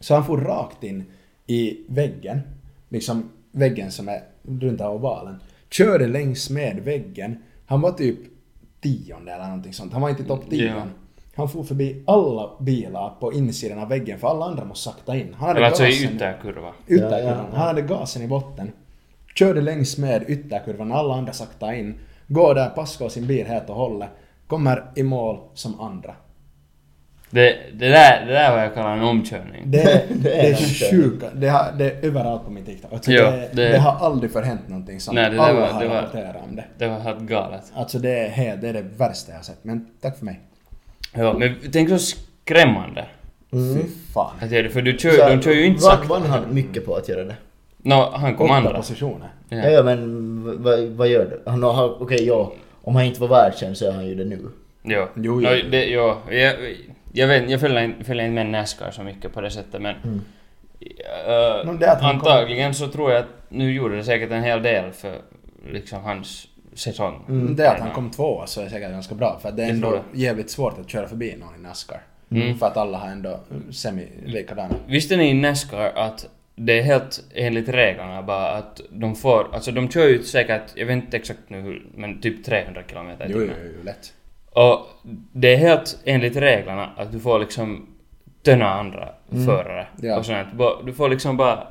Speaker 1: Så han får rakt in i väggen, liksom väggen som är runt den här ovalen. Körde längs med väggen. Han var typ tionde eller någonting sånt. Han var inte i topp tion.
Speaker 3: Ja.
Speaker 1: Han for förbi alla bilar på insidan av väggen för alla andra måste sakta in. Han hade
Speaker 3: Eller alltså i
Speaker 1: gasen-
Speaker 3: ytterkurva.
Speaker 1: ytterkurvan.
Speaker 2: Ja, ja, ja.
Speaker 1: Han hade gasen i botten. Körde längs med ytterkurvan, alla andra sakta in. Går där, passar sin bil helt och hållet. Kommer i mål som andra.
Speaker 3: Det, det, där, det där var jag kallar en omkörning.
Speaker 1: Det, är-
Speaker 2: Det är
Speaker 1: det är
Speaker 2: inte-
Speaker 1: sjuka, det, har, det är överallt på min TikTok. Alltså
Speaker 3: Ja,
Speaker 1: det,
Speaker 3: det-
Speaker 1: det... har aldrig förhänt någonting sånt.
Speaker 3: Nej, det där
Speaker 1: Alla
Speaker 3: var-
Speaker 1: har
Speaker 3: det var-
Speaker 1: rapporterat om det.
Speaker 3: Det var helt galet.
Speaker 1: Alltså det är, helt- det är det värsta jag har sett. Men tack för mig.
Speaker 3: Ja, men tänk så skrämmande.
Speaker 2: Mm.
Speaker 1: Fy fan.
Speaker 3: Att det är det, för du kör, de kör ju inte sakta.
Speaker 2: Vann han mycket på att göra det?
Speaker 3: Nå, han kom
Speaker 1: Åtta
Speaker 3: andra.
Speaker 1: positioner.
Speaker 3: Ja.
Speaker 2: Ja, ja men v- vad, vad gör du? Han har, okej ja, om han inte var världskänd så är han ju det nu.
Speaker 3: Jo.
Speaker 1: Jo,
Speaker 3: Nå,
Speaker 1: jo.
Speaker 3: det, jo. Jag, jag, vet, jag följer, inte- följer inte med Nascar så mycket på det sättet men... eh,
Speaker 1: Nå, Mm. det är att han kom-
Speaker 3: antagligen så tror jag att nu gjorde det säkert en hel del för liksom hans säsong.
Speaker 1: Det att han kom tvåa så är säkert ganska bra för att det är
Speaker 3: Jag tror
Speaker 1: ändå jävligt svårt att köra förbi någon i Nascar.
Speaker 3: Mm.
Speaker 1: För att alla har ändå semi likadana.
Speaker 3: Visste ni i Nascar att det är helt enligt reglerna bara att de får, alltså de kör ju säkert, jag vet inte exakt nu hur, men typ 300 kilometer i
Speaker 1: Jo, jo,
Speaker 3: timmen.
Speaker 1: jo, lätt.
Speaker 3: Och det är helt enligt reglerna att du får liksom töna andra förare
Speaker 1: Ja.
Speaker 3: och sånt. Bara- Du får liksom bara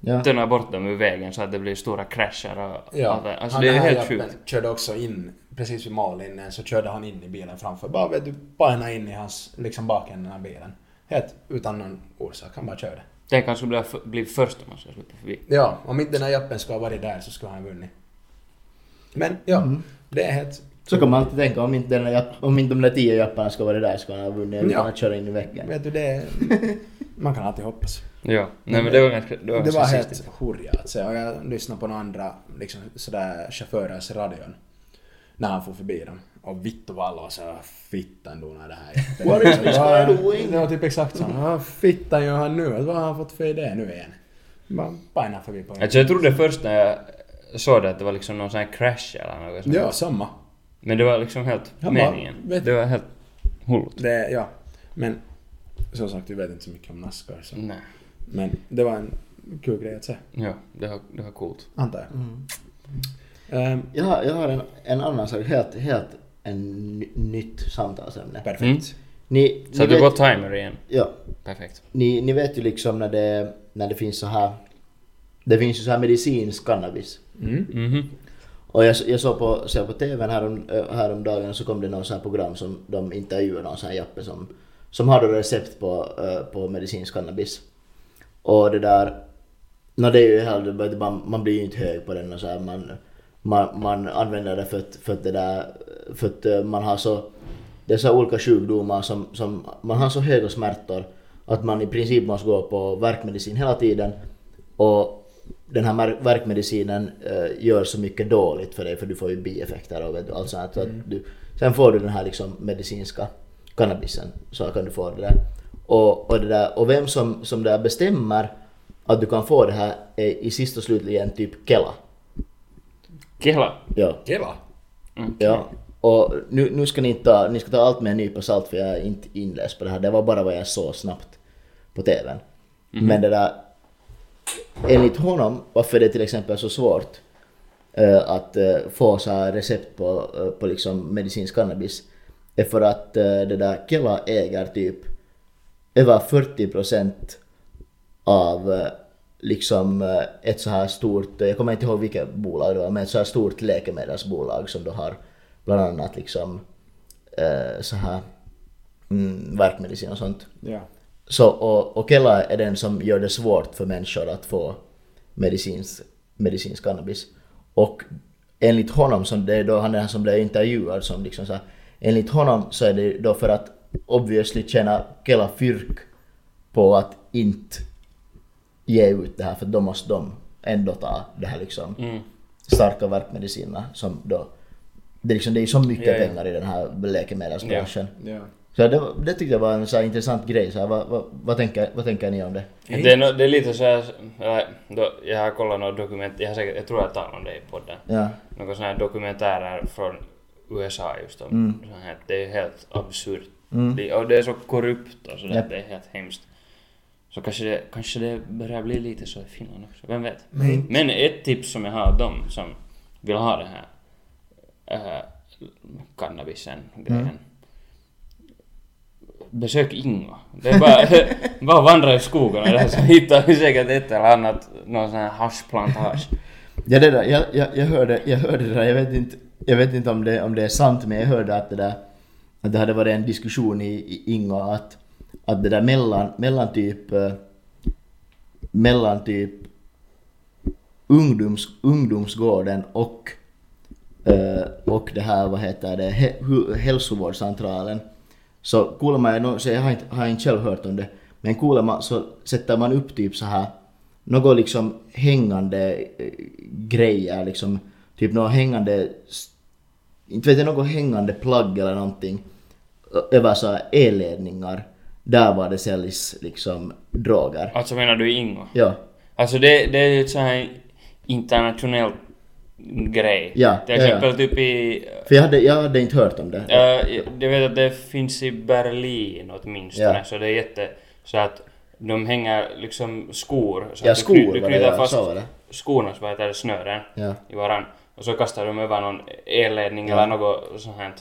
Speaker 2: Ja.
Speaker 3: töna bort dem ur vägen så att det blir stora krascher och allt det. Alltså
Speaker 1: han
Speaker 3: det är
Speaker 1: den här
Speaker 3: helt
Speaker 1: jappen
Speaker 3: sjukt.
Speaker 1: körde också in, precis vid mållinjen så körde han in i bilen framför. Bara vet du, bana in i hans, liksom bakänden av bilen. Helt utan någon orsak, han bara körde.
Speaker 3: Tänk han skulle bli, f- bli först om han skulle slippa förbi.
Speaker 1: Ja, om inte den här jappen skulle ha varit där så skulle han ha vunnit. Men ja, det är helt...
Speaker 2: Så kan man alltid tänka om inte, den, där japp- om inte de där tio japparna ska vara där ska han ha vunnit utan
Speaker 1: Ja.
Speaker 2: att köra in i väggen.
Speaker 1: Vet du, det är... Man kan alltid hoppas.
Speaker 3: Ja. Nej men det var ganska... Det var,
Speaker 1: Det var
Speaker 3: ganska
Speaker 1: helt
Speaker 3: sist.
Speaker 1: hurja att se. Och jag lyssnade på några andra liksom, sådär, chaufförers radion. när han får förbi dem. Och vittu vad alla var såhär, fittan då när det här är.
Speaker 2: What is this
Speaker 1: Ja,
Speaker 2: guy doing?
Speaker 1: Det var typ exakt så. Ja, fittan gör han nu? Att Vad har han fått för idé nu igen? Man bajnar förbi på en.
Speaker 3: Alltså jag trodde först när jag såg det att det var liksom någon sån här crash eller något sånt.
Speaker 1: Ja, samma.
Speaker 3: Men det var liksom helt
Speaker 1: Han bara,
Speaker 3: meningen.
Speaker 1: vet-
Speaker 3: Det var helt hullut.
Speaker 1: Det, ja. Men som sagt, vi vet inte så mycket om Nascar. Så.
Speaker 3: Nej.
Speaker 1: Men det var en kul grej att se,
Speaker 3: Ja, det var, det var coolt.
Speaker 1: antar jag.
Speaker 2: Mm.
Speaker 1: Ehm,
Speaker 2: Jag har, jag har en, en annan sak, helt, helt en ny, nytt samtalsämne.
Speaker 1: perfekt.
Speaker 2: Ni,
Speaker 3: Så
Speaker 2: ni,
Speaker 3: du går
Speaker 2: vet,
Speaker 3: timer igen.
Speaker 2: ja,
Speaker 3: Perfekt.
Speaker 2: ni, ni vet ju liksom när det, när det finns så här... Det finns ju så här medicinsk cannabis.
Speaker 1: Mm.
Speaker 3: Mhm.
Speaker 2: Och jag, jag såg på, såg på TVn härom, eh, häromdagen så kom det någon sån här program som de intervjuade någon sån här jappe som, som hade recept på, eh, på medicinsk cannabis. Och det där, nå det är ju helt, man, man blir ju inte hög på den och så här, man, man, man använder det för att, för att det där, för att eh, man har så, det är så här olika sjukdomar som, som, man har så höga smärtor att man i princip måste gå på värkmedicin hela tiden och den här mar- värkmedicinen eh, gör så mycket dåligt för dig för du får ju bieffekter och vet du, allt sånt här. Så att du, sen får du den här liksom medicinska cannabisen så kan du få det där. Och, och, det där, och vem som, som där bestämmer att du kan få det här är i sist och slutligen typ Kela.
Speaker 3: Kela.
Speaker 2: Ja.
Speaker 1: Kiva.
Speaker 2: Ja, och nu, nu ska ni ta, ni ska ta allt med en nypa salt för jag är inte inläst på det här. Det var bara vad jag såg snabbt på TVn. Men det där, enligt honom, varför det till exempel är så svårt eh, att eh, få så här recept på, eh, på liksom medicinsk cannabis är för att eh, det där Kela äger typ över 40 procent av eh, liksom eh, ett så här stort, eh, jag kommer inte ihåg vilket bolag det var, men ett så här stort läkemedelsbolag som då har bland annat liksom eh, så här mm, värkmedicin och sånt.
Speaker 1: Ja.
Speaker 2: Så, och, och Kela är den som gör det svårt för människor att få medicinsk, medicinsk cannabis. Och enligt honom, som det är då han är den som blev intervjuad, som liksom så här, enligt honom så är det då för att obviously tjäna Kela fyrk på att inte ge ut det här för då måste de ändå ta det här liksom
Speaker 3: Mm.
Speaker 2: starka värkmedicinerna som då det, är liksom, det är så mycket
Speaker 3: Ja, ja.
Speaker 2: pengar i den här läkemedelsbranschen.
Speaker 1: ja.
Speaker 2: Så det, var- det tyckte jag var en så här intressant grej. Så här, vad, vad, vad, tänker, vad tänker ni om det?
Speaker 3: Det är, nå- det är lite så här, eller, då, jag har kollat några dokument, jag, har säkert, jag tror jag talade om det i podden.
Speaker 2: Ja.
Speaker 3: Några sådana här dokumentärer från USA just om sånt här. Det är ju helt absurt. Det, och det är så korrupt och sådär,
Speaker 2: Japp.
Speaker 3: det är helt hemskt. Så kanske det, kanske det börjar bli lite så i Finland också, vem vet?
Speaker 1: Men-
Speaker 3: Men ett tips som jag har av dem som vill ha den här äh, cannabisen grejen. Besök Ingo. Det är bara, bara vandra i skogen och där så hittar vi säkert ett eller annat, någon sån här haschplantage.
Speaker 2: Ja, det där, jag, jag, jag, hörde, jag hörde det där, jag vet inte, jag vet inte om, det, om det är sant men jag hörde att det där att det hade varit en diskussion i, i Ingo att, att det där mellan, mellan typ eh, mellan typ ungdoms, ungdomsgården och eh, och det här vad heter det he, hu- hälsovårdscentralen så kuulemma, jag, nå- så jag har inte, har inte själv hört om det men kuulemma så sätter man upp typ så här något liksom hängande eh, grejer liksom typ något hängande s- inte vet jag något hängande plagg eller någonting ö- över så här elledningar där var det säljs liksom droger.
Speaker 3: Alltså menar du Ingo?
Speaker 2: Ja.
Speaker 3: Alltså det, det är ju ett sån här internationell grej.
Speaker 2: Ja,
Speaker 3: Till
Speaker 2: ja, ja.
Speaker 3: exempel typ i...
Speaker 2: För jag hade, jag hade inte hört om det.
Speaker 3: Äh, jag vet att det finns i Berlin åtminstone,
Speaker 2: Ja.
Speaker 3: så det är jätte... Så att de hänger liksom skor. Så
Speaker 2: Ja,
Speaker 3: att du, kny-
Speaker 2: skor
Speaker 3: du
Speaker 2: var det,
Speaker 3: knyter
Speaker 2: ja,
Speaker 3: fast
Speaker 2: så var det.
Speaker 3: skorna, så vad heter det, snören
Speaker 2: Ja.
Speaker 3: i varann. Och så kastar de över någon elledning eller något sånt här.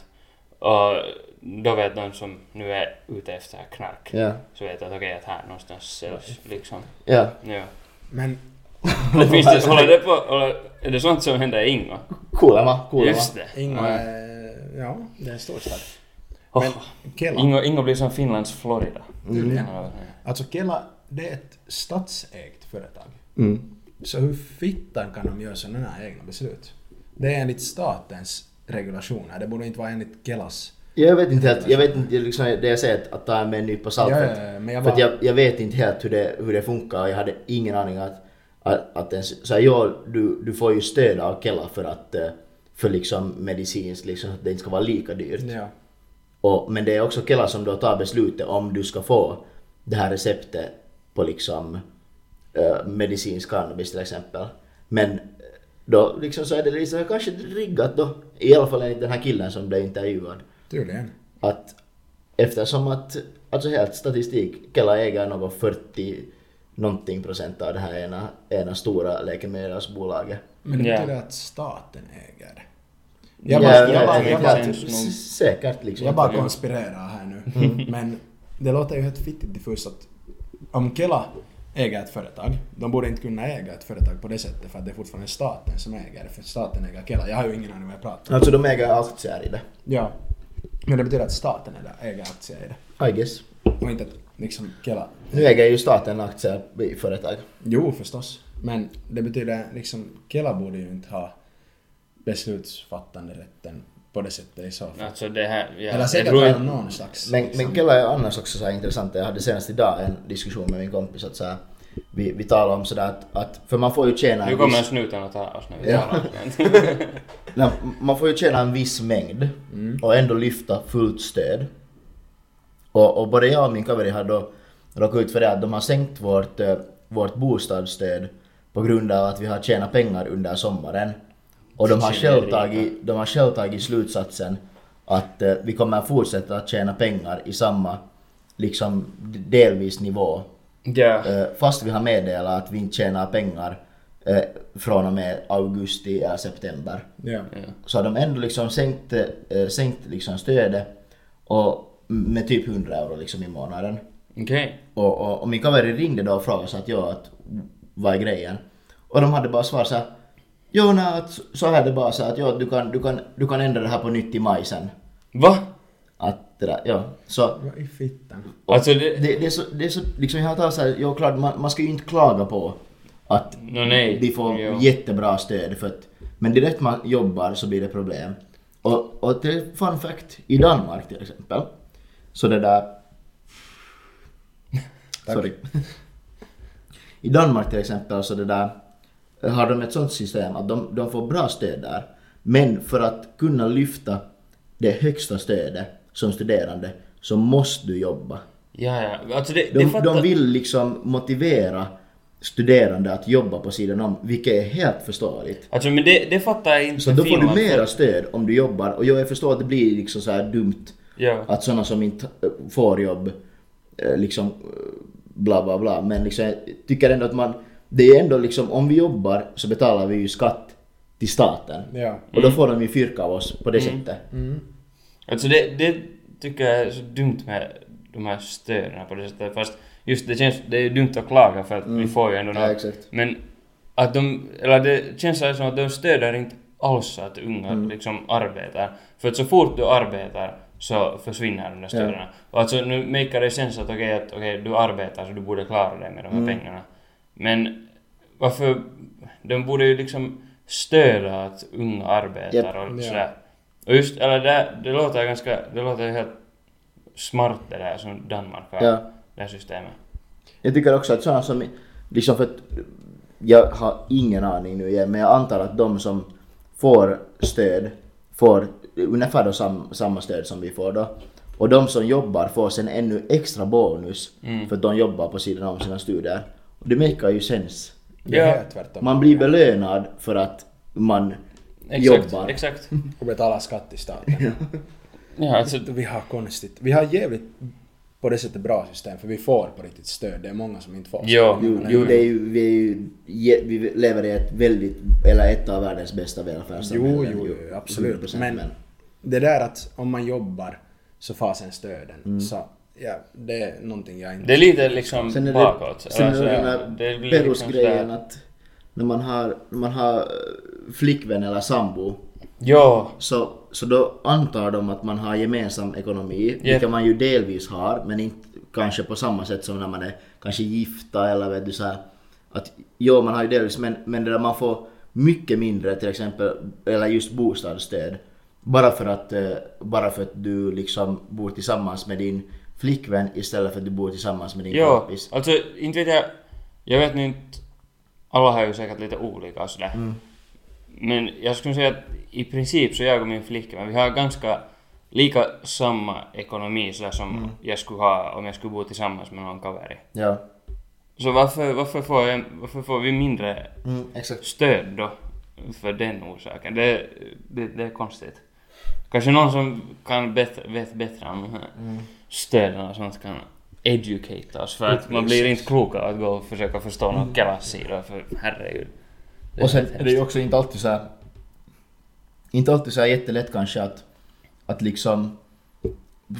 Speaker 3: Och då vet de som nu är ute efter knark,
Speaker 2: Ja.
Speaker 3: så vet att okej, att här någonstans säljs liksom.
Speaker 2: Ja.
Speaker 3: Ja.
Speaker 1: Men
Speaker 3: Det finns det, håller det på, håller, är det sånt som händer i Ingo?
Speaker 2: Kuulemma, kuulemma.
Speaker 3: Just det.
Speaker 1: Ingo
Speaker 3: Ja.
Speaker 1: är... eh, Ja, det är en stor stad.
Speaker 3: Oh.
Speaker 1: Men Kela.
Speaker 3: Ingo, Ingo blir som Finlands Florida.
Speaker 2: Mm.
Speaker 3: Ja.
Speaker 1: Alltså Kela, det är ett statsägt företag.
Speaker 2: Mm.
Speaker 1: Så hur fittan kan de göra sådana här egna beslut? Det är enligt statens regulationer. Det borde inte vara enligt Kelas.
Speaker 2: Jag vet inte helt, jag vet inte liksom det jag säger att, att ta med en nypa salt.
Speaker 1: Ja,
Speaker 2: för
Speaker 1: ja,
Speaker 2: att-
Speaker 1: ja, men jag
Speaker 2: För att
Speaker 1: bara-
Speaker 2: jag, jag vet inte helt hur det, hur det funkar och jag hade ingen aning att, att, att ens, så här, ja, du, du får ju stöd av Kela för att, eh, för liksom medicinskt, liksom, att det inte ska vara lika dyrt.
Speaker 1: Ja.
Speaker 2: Och, men det är också Kela som då tar beslutet om du ska få det här receptet på liksom eh, medicinsk cannabis till exempel. Men eh, då liksom så är det liksom kanske riggat då, i alla fall enligt den här killen som blev intervjuad,
Speaker 1: Tydligen.
Speaker 2: att eftersom att, alltså helt statistik, Kela äger något 40 någonting procent av det här ena, ena stora läkemedelsbolaget.
Speaker 1: Men det
Speaker 3: Ja.
Speaker 1: betyder att staten äger det.
Speaker 3: Ja,
Speaker 1: Jag bara,
Speaker 2: Ja,
Speaker 1: jag bara,
Speaker 3: det
Speaker 1: jag
Speaker 3: är
Speaker 1: bara,
Speaker 3: klart.
Speaker 1: jag
Speaker 3: typ någon-
Speaker 2: säkert liksom.
Speaker 1: jag bara konspirerar här nu. Men det låter ju helt fittigt diffust att om Kela äger ett företag, de borde inte kunna äga ett företag på det sättet för att det är fortfarande staten som äger det, för staten äger Kela. Jag har ju ingen aning vad jag pratar om.
Speaker 2: Alltså de äger aktier i det,
Speaker 1: Ja. Men det betyder att staten äger- äger aktier i det.
Speaker 2: I guess.
Speaker 1: Och inte att liksom Kela...
Speaker 2: Nu äger ju staten aktier i företag.
Speaker 1: Jo, förstås. Men det betyder liksom, Kela borde ju inte ha beslutsfattande rätten på det sättet i så fall.
Speaker 3: Alltså det här... Ja,
Speaker 1: Eller
Speaker 3: jag
Speaker 1: säkert
Speaker 3: tror
Speaker 1: har
Speaker 3: jag,
Speaker 1: någon slags...
Speaker 2: Men,
Speaker 1: liksom-
Speaker 2: men Kela är annars också så här intressant. Jag hade senast idag en diskussion med min kompis att så här, vi, vi talar om sådär att, att, för man får ju tjäna
Speaker 3: nu
Speaker 2: en
Speaker 3: kommer
Speaker 2: viss,
Speaker 3: snuten att ta oss när Alltså, vi
Speaker 2: Ja.
Speaker 3: talar om det.
Speaker 2: nej, man får ju tjäna en viss mängd och ändå lyfta fullt stöd. Och, och både jag och min kamrer har då råkat ut för det att de har sänkt vårt, eh, vårt bostadsstöd på grund av att vi har tjänat pengar under sommaren. Och de har,
Speaker 3: Shit,
Speaker 2: själv
Speaker 3: det är rika.
Speaker 2: tagit, de har själv tagit slutsatsen att eh, vi kommer fortsätta att tjäna pengar i samma liksom d- delvis nivå.
Speaker 3: Ja.
Speaker 2: Eh, fast vi har meddelat att vi inte tjänar pengar eh, från och med augusti eller september.
Speaker 1: Ja.
Speaker 2: Så har de ändå liksom sänkt, eh, sänkt liksom stödet och med typ 100 euro liksom i månaden.
Speaker 3: Okej.
Speaker 2: Och, och, och min kamrer ringde då och frågade så att jag att vad är grejen? Och de hade bara svarat så här. Jo, nej, att så här är det bara så att ja, du kan, du kan, du kan ändra det här på nytt i maj sen.
Speaker 3: Va?
Speaker 2: Att det där, ja. Så
Speaker 1: Vad i fittan?
Speaker 3: Alltså det...
Speaker 2: det, det är så, det är så liksom jag tar så här, ja klart man, man ska ju inte klaga på att
Speaker 3: Nå, nej.
Speaker 2: vi får
Speaker 3: Jo.
Speaker 2: jättebra stöd för att, men direkt man jobbar så blir det problem. Och, och det är fun fact, i Danmark till exempel, så det där... Sorry. I Danmark till exempel så det där, har de ett sånt system att de, de får bra stöd där. Men för att kunna lyfta det högsta stödet som studerande så måste du jobba.
Speaker 3: Ja, ja. Alltså det, det
Speaker 2: De,
Speaker 3: fattar...
Speaker 2: de vill liksom motivera studerande att jobba på sidan om, vilket är helt förståeligt.
Speaker 3: Alltså men det, det fattar jag inte.
Speaker 2: Så då får du
Speaker 3: Finland, för-
Speaker 2: mera stöd om du jobbar och jag förstår att det blir liksom så här dumt
Speaker 3: Ja.
Speaker 2: att sådana som inte eh, får jobb eh, liksom eh, bla bla bla men liksom jag tycker ändå att man det är ändå liksom om vi jobbar så betalar vi ju skatt till staten
Speaker 1: Ja.
Speaker 2: och
Speaker 3: Mm.
Speaker 2: då får de ju fyrka av oss på det sättet.
Speaker 3: Alltså det, det tycker jag är så dumt med de här stöden på det sättet. Fast just det känns, det är dumt att klaga för att vi får ju ändå
Speaker 2: Mm. Ja, exakt.
Speaker 3: Men att de, eller det känns så här som att de stöder inte alls att unga
Speaker 2: Mm.
Speaker 3: liksom arbetar. För att så fort du arbetar så försvinner de där stöden. Och alltså nu makear det sens att okej, att, okej du arbetar så du borde klara dig med de här
Speaker 2: Mm.
Speaker 3: pengarna. Men varför, de borde ju liksom stödja att unga arbetar och
Speaker 1: Ja.
Speaker 3: sådär. Och just, eller det, här- det låter ganska, det låter ju helt smart det där som Danmark har,
Speaker 2: Ja.
Speaker 3: det här systemet.
Speaker 2: Jag tycker också att sådana som, liksom för att, jag har ingen aning nu igen, men jag antar att de som får stöd får ungefär då sam, samma stöd som vi får då. Och de som jobbar får sen ännu extra bonus
Speaker 1: Mm.
Speaker 2: för att de jobbar på sidan om sina studier. Och det makar ju sens.
Speaker 1: Det är
Speaker 3: Ja.
Speaker 1: helt tvärtom.
Speaker 2: Man blir belönad för att man
Speaker 3: Exakt,
Speaker 2: jobbar.
Speaker 3: exakt.
Speaker 1: Och betalar skatt till staten.
Speaker 3: Ja, alltså,
Speaker 1: Vi har konstigt. Vi har jävligt på det sättet bra system för vi får på riktigt stöd. Det är många som inte får.
Speaker 3: Ja.
Speaker 2: Jo,
Speaker 1: Mm.
Speaker 2: jo, det är ju, vi, är ju, ge- vi lever i ett väldigt, eller ett av världens bästa välfärdssamhällen.
Speaker 1: Jo, jo, jo, absolut.
Speaker 2: 100%,
Speaker 1: Men det där att om man jobbar så får sen stöden. Så ja, det är någonting jag inte...
Speaker 3: Det är lite liksom
Speaker 2: Sen är det,
Speaker 3: bakåt.
Speaker 2: sen är
Speaker 3: Alltså,
Speaker 2: det den här
Speaker 3: det blir liksom
Speaker 2: Perus-grejen
Speaker 3: sådär-
Speaker 2: att när man har, när man har eh, flickvän eller sambo
Speaker 3: Ja,
Speaker 2: så, så då antar de att man har gemensam ekonomi, vilket man ju delvis har men inte kanske på samma sätt som när man är kanske gifta eller vet du så här, att jo man har ju delvis men, men det där man får mycket mindre till exempel eller just bostadsstöd bara för att, eh, bara för att du liksom bor tillsammans med din flickvän istället för att du bor tillsammans med din
Speaker 3: ja.
Speaker 2: kompis.
Speaker 3: Alltså
Speaker 2: Mm.
Speaker 3: inte vet jag. Jag vet nu inte. Alla har ju säkert lite olika och sådär. Men jag skulle säga att i princip så jag och min flickvän, vi har ganska lika samma ekonomi så där som
Speaker 2: Mm.
Speaker 3: jag skulle ha om jag skulle bo tillsammans med någon kaveri.
Speaker 2: Ja.
Speaker 3: Så varför, varför, får, jag, varför får vi mindre
Speaker 2: Mm, exakt.
Speaker 3: stöd då för den orsaken? Det, det, det är konstigt. Kanske någon som kan bet, vet bättre om de här
Speaker 2: Mm.
Speaker 3: stöden och sånt kan educate oss för att man blir inte klokare att gå och försöka förstå någon kalassidor för herregud. Det är
Speaker 2: Mm. Och sen
Speaker 3: helt
Speaker 2: är det ju också inte alltid så här, Inte alltid så här jättelätt kanske att, att liksom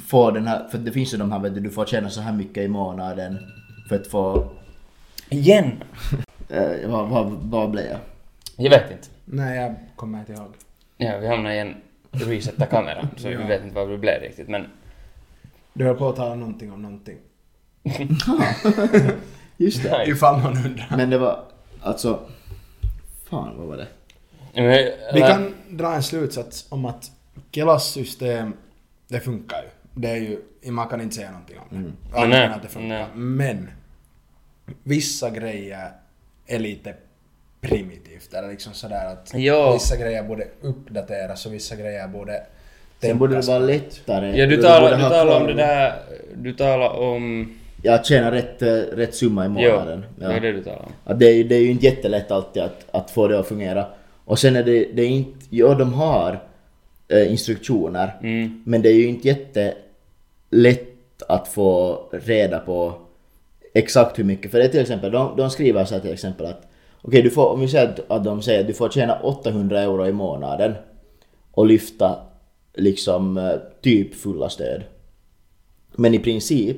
Speaker 2: få den här, för det finns ju de här vet du, du får tjäna så här mycket i månaden för att få,
Speaker 3: Igen!
Speaker 2: eh, vad, vad, vad blev jag?
Speaker 3: Jag vet inte.
Speaker 1: Nej, jag kommer inte ihåg.
Speaker 3: Ja, vi hamnade i en resetta kameran så vi
Speaker 1: Ja.
Speaker 3: vet inte vad det blev riktigt men
Speaker 1: Du höll på att tala någonting om någonting.
Speaker 2: Just det.
Speaker 3: Nej.
Speaker 1: Ifall man undrar.
Speaker 2: Men det var alltså, fan vad var det?
Speaker 3: Men,
Speaker 1: Vi
Speaker 3: eller-
Speaker 1: kan dra en slutsats om att klassystem, det funkar ju. Det är ju, man kan inte säga någonting om det. Alla
Speaker 3: Nej,
Speaker 1: kan att det funkar.
Speaker 3: nej.
Speaker 1: Men, vissa grejer är lite primitivt. Eller liksom sådär att
Speaker 3: Ja.
Speaker 1: vissa grejer borde uppdateras och vissa grejer borde
Speaker 2: Sen borde det
Speaker 1: tänkas
Speaker 2: vara
Speaker 1: på.
Speaker 2: lättare.
Speaker 3: Ja, du
Speaker 2: borde
Speaker 3: talar, du
Speaker 2: ha
Speaker 3: talar om
Speaker 2: kvar-
Speaker 3: det där... Du talar om...
Speaker 2: Ja, att tjäna rätt, eh, rätt summa i
Speaker 3: Jo,
Speaker 2: månaden.
Speaker 3: det är det du talar om.
Speaker 2: Att det, är, det är ju inte jättelätt alltid att, att få det att fungera. Och sen är det, det är inte, ja de har eh, instruktioner.
Speaker 3: Mm.
Speaker 2: Men det är ju inte jättelätt att få reda på exakt hur mycket. För det är till exempel, de, de skriver så här till exempel att okej du får, om vi säger att, att de säger att du får tjäna 800 euro i månaden och lyfta liksom eh, typ fulla stöd. Men i princip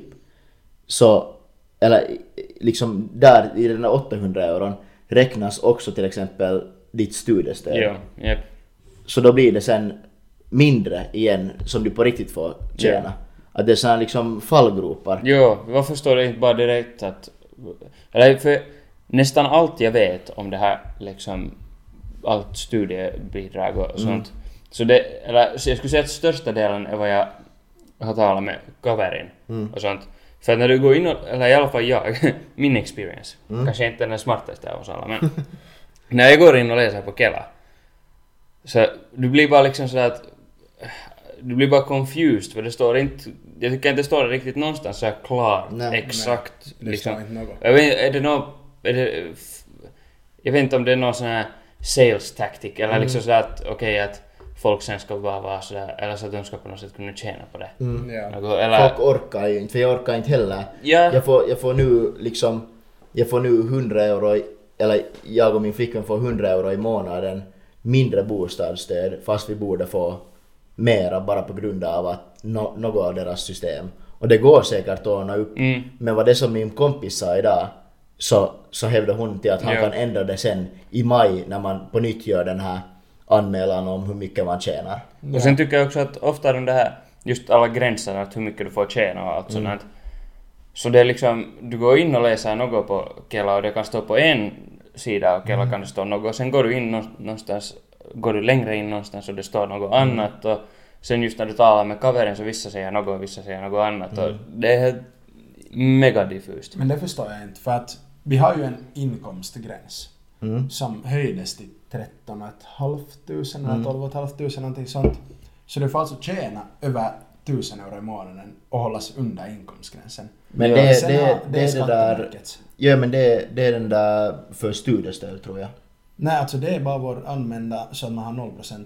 Speaker 2: så, eller i- i- liksom där i den där 800 euron räknas också till exempel ditt studiestöd.
Speaker 3: Jo, japp.
Speaker 2: Så då blir det sen mindre igen som du på riktigt får tjäna. Att det är såna liksom fallgropar.
Speaker 3: Jo, varför står det inte bara direkt att... Eller för nästan allt jag vet om det här liksom... Allt studiebidrag och sånt. Så det... Eller så jag skulle säga att största delen är vad jag har talat med kaverin och sånt. För att när du går in och... Eller i alla fall jag. min experience. Kanske inte den smartaste av oss alla men... när jag går in och läser på Kela. Så du blir bara liksom sådär att... Du blir bara confused för det står inte... Jag tycker inte det står riktigt någonstans såhär klart,
Speaker 2: Nej,
Speaker 3: exakt. liksom.
Speaker 1: Det står inte något.
Speaker 3: Jag vet, är det nå... Är det, f- jag vet inte om det är någon sån här sales tactic eller liksom sådär att okej att folk sen ska bara vara sådär eller så att de ska på något sätt kunna tjäna på det.
Speaker 1: Ja.
Speaker 3: Något- Eller...
Speaker 2: Folk orkar ju inte, för jag orkar inte heller.
Speaker 3: Ja.
Speaker 2: Jag, får, jag får nu liksom, jag får nu 100 euro, i- eller jag och min flickvän får 100 euro i månaden mindre bostadsstöd fast vi borde få mera bara på grund av att no, något av deras system. Och det går säkert att ordna upp.
Speaker 3: Mm.
Speaker 2: Men vad det som min kompis sa idag så, så hävdade hon till att han
Speaker 3: Ja.
Speaker 2: kan ändra det sen i maj när man på nytt gör den här anmälan om hur mycket man tjänar.
Speaker 3: Och sen tycker jag också att ofta de där, just alla gränserna, att hur mycket du får tjäna och allt sånt här. Så det är liksom, du går in och läser något på Kela och det kan stå på en sida och Kela
Speaker 1: Mm.
Speaker 3: kan det stå något. Och sen går du in nå- någonstans, går du längre in någonstans och det står
Speaker 1: Mm.
Speaker 3: något annat. Och sen just när du talar med kaverin så vissa säger något och vissa säger något annat. Och det är helt mega diffust.
Speaker 1: Mm. Men det förstår jag inte för att vi har ju en inkomstgräns.
Speaker 2: Mm.
Speaker 1: som höjdes till 13 500 eller
Speaker 2: Mm.
Speaker 1: 12 500 någonting sånt. Så du får alltså tjäna över 1000 euro i månaden och hållas under inkomstgränsen.
Speaker 2: Men
Speaker 1: Ja.
Speaker 2: det, det,
Speaker 1: Sen har-
Speaker 2: det,
Speaker 1: är
Speaker 2: är det där...
Speaker 1: Skatteverkets.
Speaker 2: Ja men det, det är den där för studiestöd tror jag.
Speaker 1: Nej, alltså det är bara vår använda så att man har 0%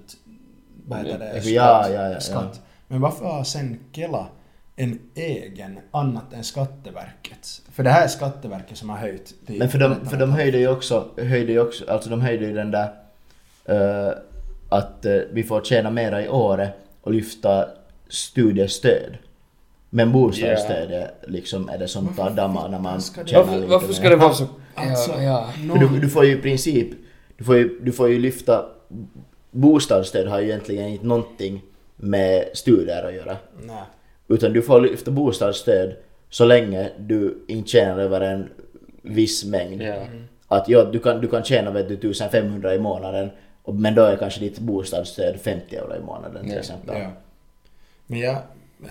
Speaker 1: vad heter det?
Speaker 2: Ja, ja, ja, ja.
Speaker 1: skatt. Men varför har sen Kela en egen annat än Skatteverket? För det här är Skatteverket som har höjt till...
Speaker 2: Men för de,
Speaker 1: 13
Speaker 2: för de höjde ju också, höjde ju också, alltså de höjde ju den där eh, att eh, vi får tjäna mera i året och lyfta studiestöd. Men bostadsstöd är liksom är det som tar dammar när man
Speaker 1: Varför-
Speaker 2: tjänar
Speaker 3: Varför,
Speaker 2: lite
Speaker 3: varför
Speaker 2: mer.
Speaker 3: ska det vara så?
Speaker 1: Alltså,
Speaker 3: ja, ja.
Speaker 1: noll-
Speaker 2: För du, du får ju i princip, du får ju, du får ju lyfta, bostadsstöd har ju egentligen inte någonting med studier att göra.
Speaker 1: Nej.
Speaker 2: Utan du får lyfta bostadsstöd så länge du inte tjänar över en viss mängd.
Speaker 3: Ja.
Speaker 1: Mm.
Speaker 2: Att ja, du kan, du kan tjäna vet du, 1500 i månaden och- men då är kanske ditt bostadsstöd 50 euro i månaden till
Speaker 3: Ja.
Speaker 2: exempel.
Speaker 1: Ja. Men jag,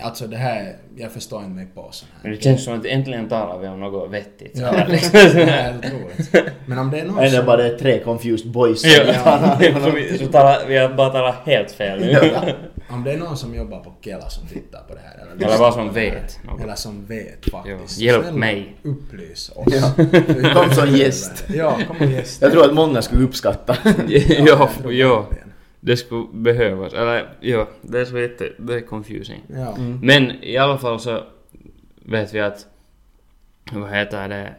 Speaker 1: Alltså det här, jag förstår inte mig på sånt här.
Speaker 3: Men det känns som att äntligen talar vi om något vettigt.
Speaker 1: Ja,
Speaker 3: sådär,
Speaker 1: det
Speaker 3: liksom.
Speaker 1: är otroligt. Men om det är någon
Speaker 2: Än är
Speaker 1: som...
Speaker 2: bara det är tre confused boys.
Speaker 3: Ja,
Speaker 1: Ja.
Speaker 3: så vi, så talar, vi har bara talat helt fel nu.
Speaker 1: Om det är någon som jobbar på Kela som tittar på det här. Eller,
Speaker 3: Eller bara som vet.
Speaker 1: Eller som vet faktiskt.
Speaker 3: Jo, hjälp
Speaker 1: Snälla,
Speaker 3: mig.
Speaker 1: Upplys oss.
Speaker 2: Ja. Kom som gäst.
Speaker 1: Ja, kom som gäst.
Speaker 2: Jag tror att många skulle uppskatta.
Speaker 3: ja,
Speaker 1: jag tror
Speaker 3: ja.
Speaker 1: verkligen.
Speaker 3: Det skulle behövas. Eller ja, det är så lite, det är confusing.
Speaker 1: Ja.
Speaker 2: Mm.
Speaker 3: Men i alla fall så vet vi att, vad heter det,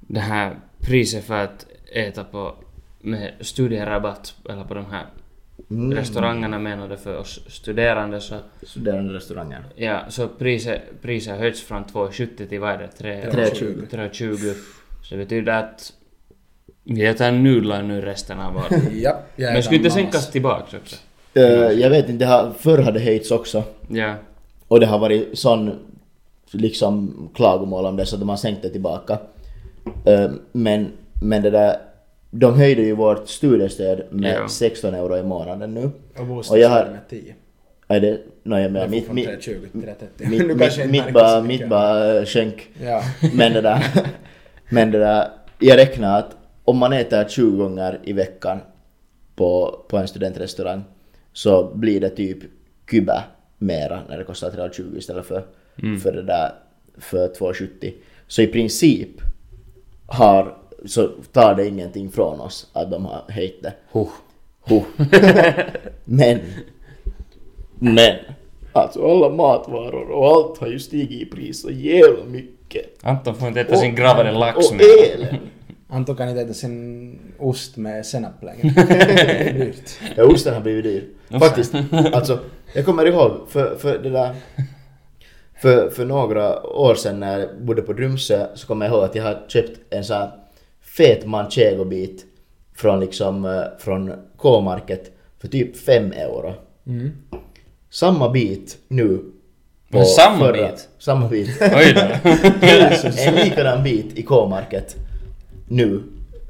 Speaker 3: det här priset för att äta på med studierabatt, eller på de här
Speaker 2: Mm.
Speaker 3: restaurangerna menade för oss studerande så,
Speaker 2: Studerande restauranger.
Speaker 3: ja, så priset, priset höjts från 2,70 till vad är det? Tre-
Speaker 2: 3,20.
Speaker 3: 3,20. Så det betyder att vi äter nudlar nu resten av året.
Speaker 1: Ja, jag är
Speaker 3: Men skulle inte
Speaker 1: gammal.
Speaker 3: sänkas tillbaks också?
Speaker 2: Eh, jag vet inte, det har, förr hade det höjts också.
Speaker 3: Ja.
Speaker 2: Och det har varit sån liksom klagomål om det så de har sänkt det tillbaka. Eh, Men, men det där, de höjde ju vårt studiestöd med
Speaker 3: Ja.
Speaker 2: 16 euro i månaden nu.
Speaker 1: Och
Speaker 2: Och jag har-
Speaker 1: bostadsstöd med 10.
Speaker 2: Är det, no, jag menar,
Speaker 1: Jag mitt,
Speaker 2: mitt,
Speaker 1: från
Speaker 2: mitt,
Speaker 1: 320 till 330.
Speaker 2: mitt,
Speaker 1: Nu
Speaker 2: mitt,
Speaker 1: kanske inte
Speaker 2: mitt,
Speaker 1: märker så
Speaker 2: bara,
Speaker 1: mycket.
Speaker 2: mitt bara eh, sjönk.
Speaker 1: Ja.
Speaker 2: Men det där, men det där, jag räknar att om man äter 20 gånger i veckan på, på en studentrestaurang så blir det typ kuba mera när det kostar 3,20 istället för, för det där för 2,70. Så i princip har, så tar det ingenting från oss att de har höjt det.
Speaker 3: Huh.
Speaker 2: Huh. men, men, alltså alla matvaror och allt har ju stigit i pris så jävla mycket.
Speaker 3: Anton får inte äta sin gravade lax
Speaker 2: Och
Speaker 3: med.
Speaker 2: elen!
Speaker 1: Anton kan inte äta sin ost med senap längre. Det är dyrt.
Speaker 2: Ja, osten har blivit dyr. Faktiskt. Alltså, jag kommer ihåg för, för det där... För, för några år sedan när jag bodde på Drumsö så kommer jag ihåg att jag har köpt en sån här fet manchego-bit från liksom, eh, från K-market för typ 5 euro.
Speaker 1: Mm.
Speaker 2: Samma bit nu. på
Speaker 3: Men samma bit?
Speaker 2: Samma bit.
Speaker 3: Oj då.
Speaker 2: en likadan bit i K-market nu.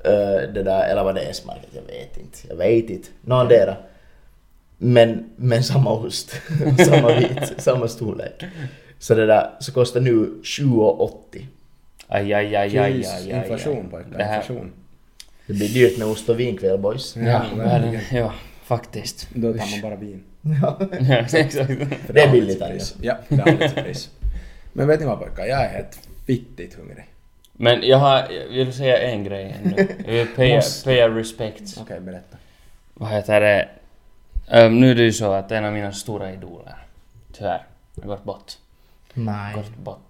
Speaker 2: eh, det där, eller vad det är S-market, jag vet inte. Jag vet inte. Någondera. Men, men samma ost. samma bit, samma storlek. Så det där, så kostar nu 20,80.
Speaker 3: Aj, aj, aj, aj, aj,
Speaker 1: Jeez,
Speaker 3: aj, aj.
Speaker 1: inflation pojkar.
Speaker 3: Det här...
Speaker 1: Inflation.
Speaker 2: Det blir dyrt med ost och vinkväll boys.
Speaker 3: Ja,
Speaker 1: Ja,
Speaker 3: men,
Speaker 1: verkligen.
Speaker 3: ja, faktiskt.
Speaker 1: Då tar man bara vin.
Speaker 3: Ja, exakt.
Speaker 2: För det är billigt ändå.
Speaker 1: pris. Ja, det har lite pris. Men vet ni vad pojkar, jag är helt fittigt hungrig.
Speaker 3: Men jag har, jag vill säga en grej ännu. Jag vill paya,
Speaker 1: Måste.
Speaker 3: paya respect.
Speaker 1: Okej, berätta.
Speaker 3: Vad heter det? Ehm, nu är det ju så att en av mina stora idoler, tyvärr, har gått bort.
Speaker 2: Nej.
Speaker 3: Gått bort.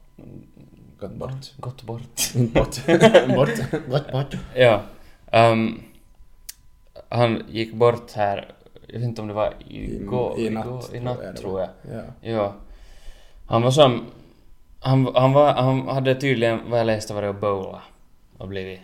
Speaker 1: Gått bort.
Speaker 3: Gått bort.
Speaker 1: Inte bort. bort.
Speaker 2: Gott, gott.
Speaker 3: Ja. ehm, han gick bort här, jag vet inte om det var igår,
Speaker 1: i natt,
Speaker 3: igår, i
Speaker 1: tror jag
Speaker 3: natt
Speaker 1: det
Speaker 3: tror jag.
Speaker 1: Ja.
Speaker 3: Ja. Han var som... Han, han, var, han hade tydligen, vad jag läste, varit och bowla och blivit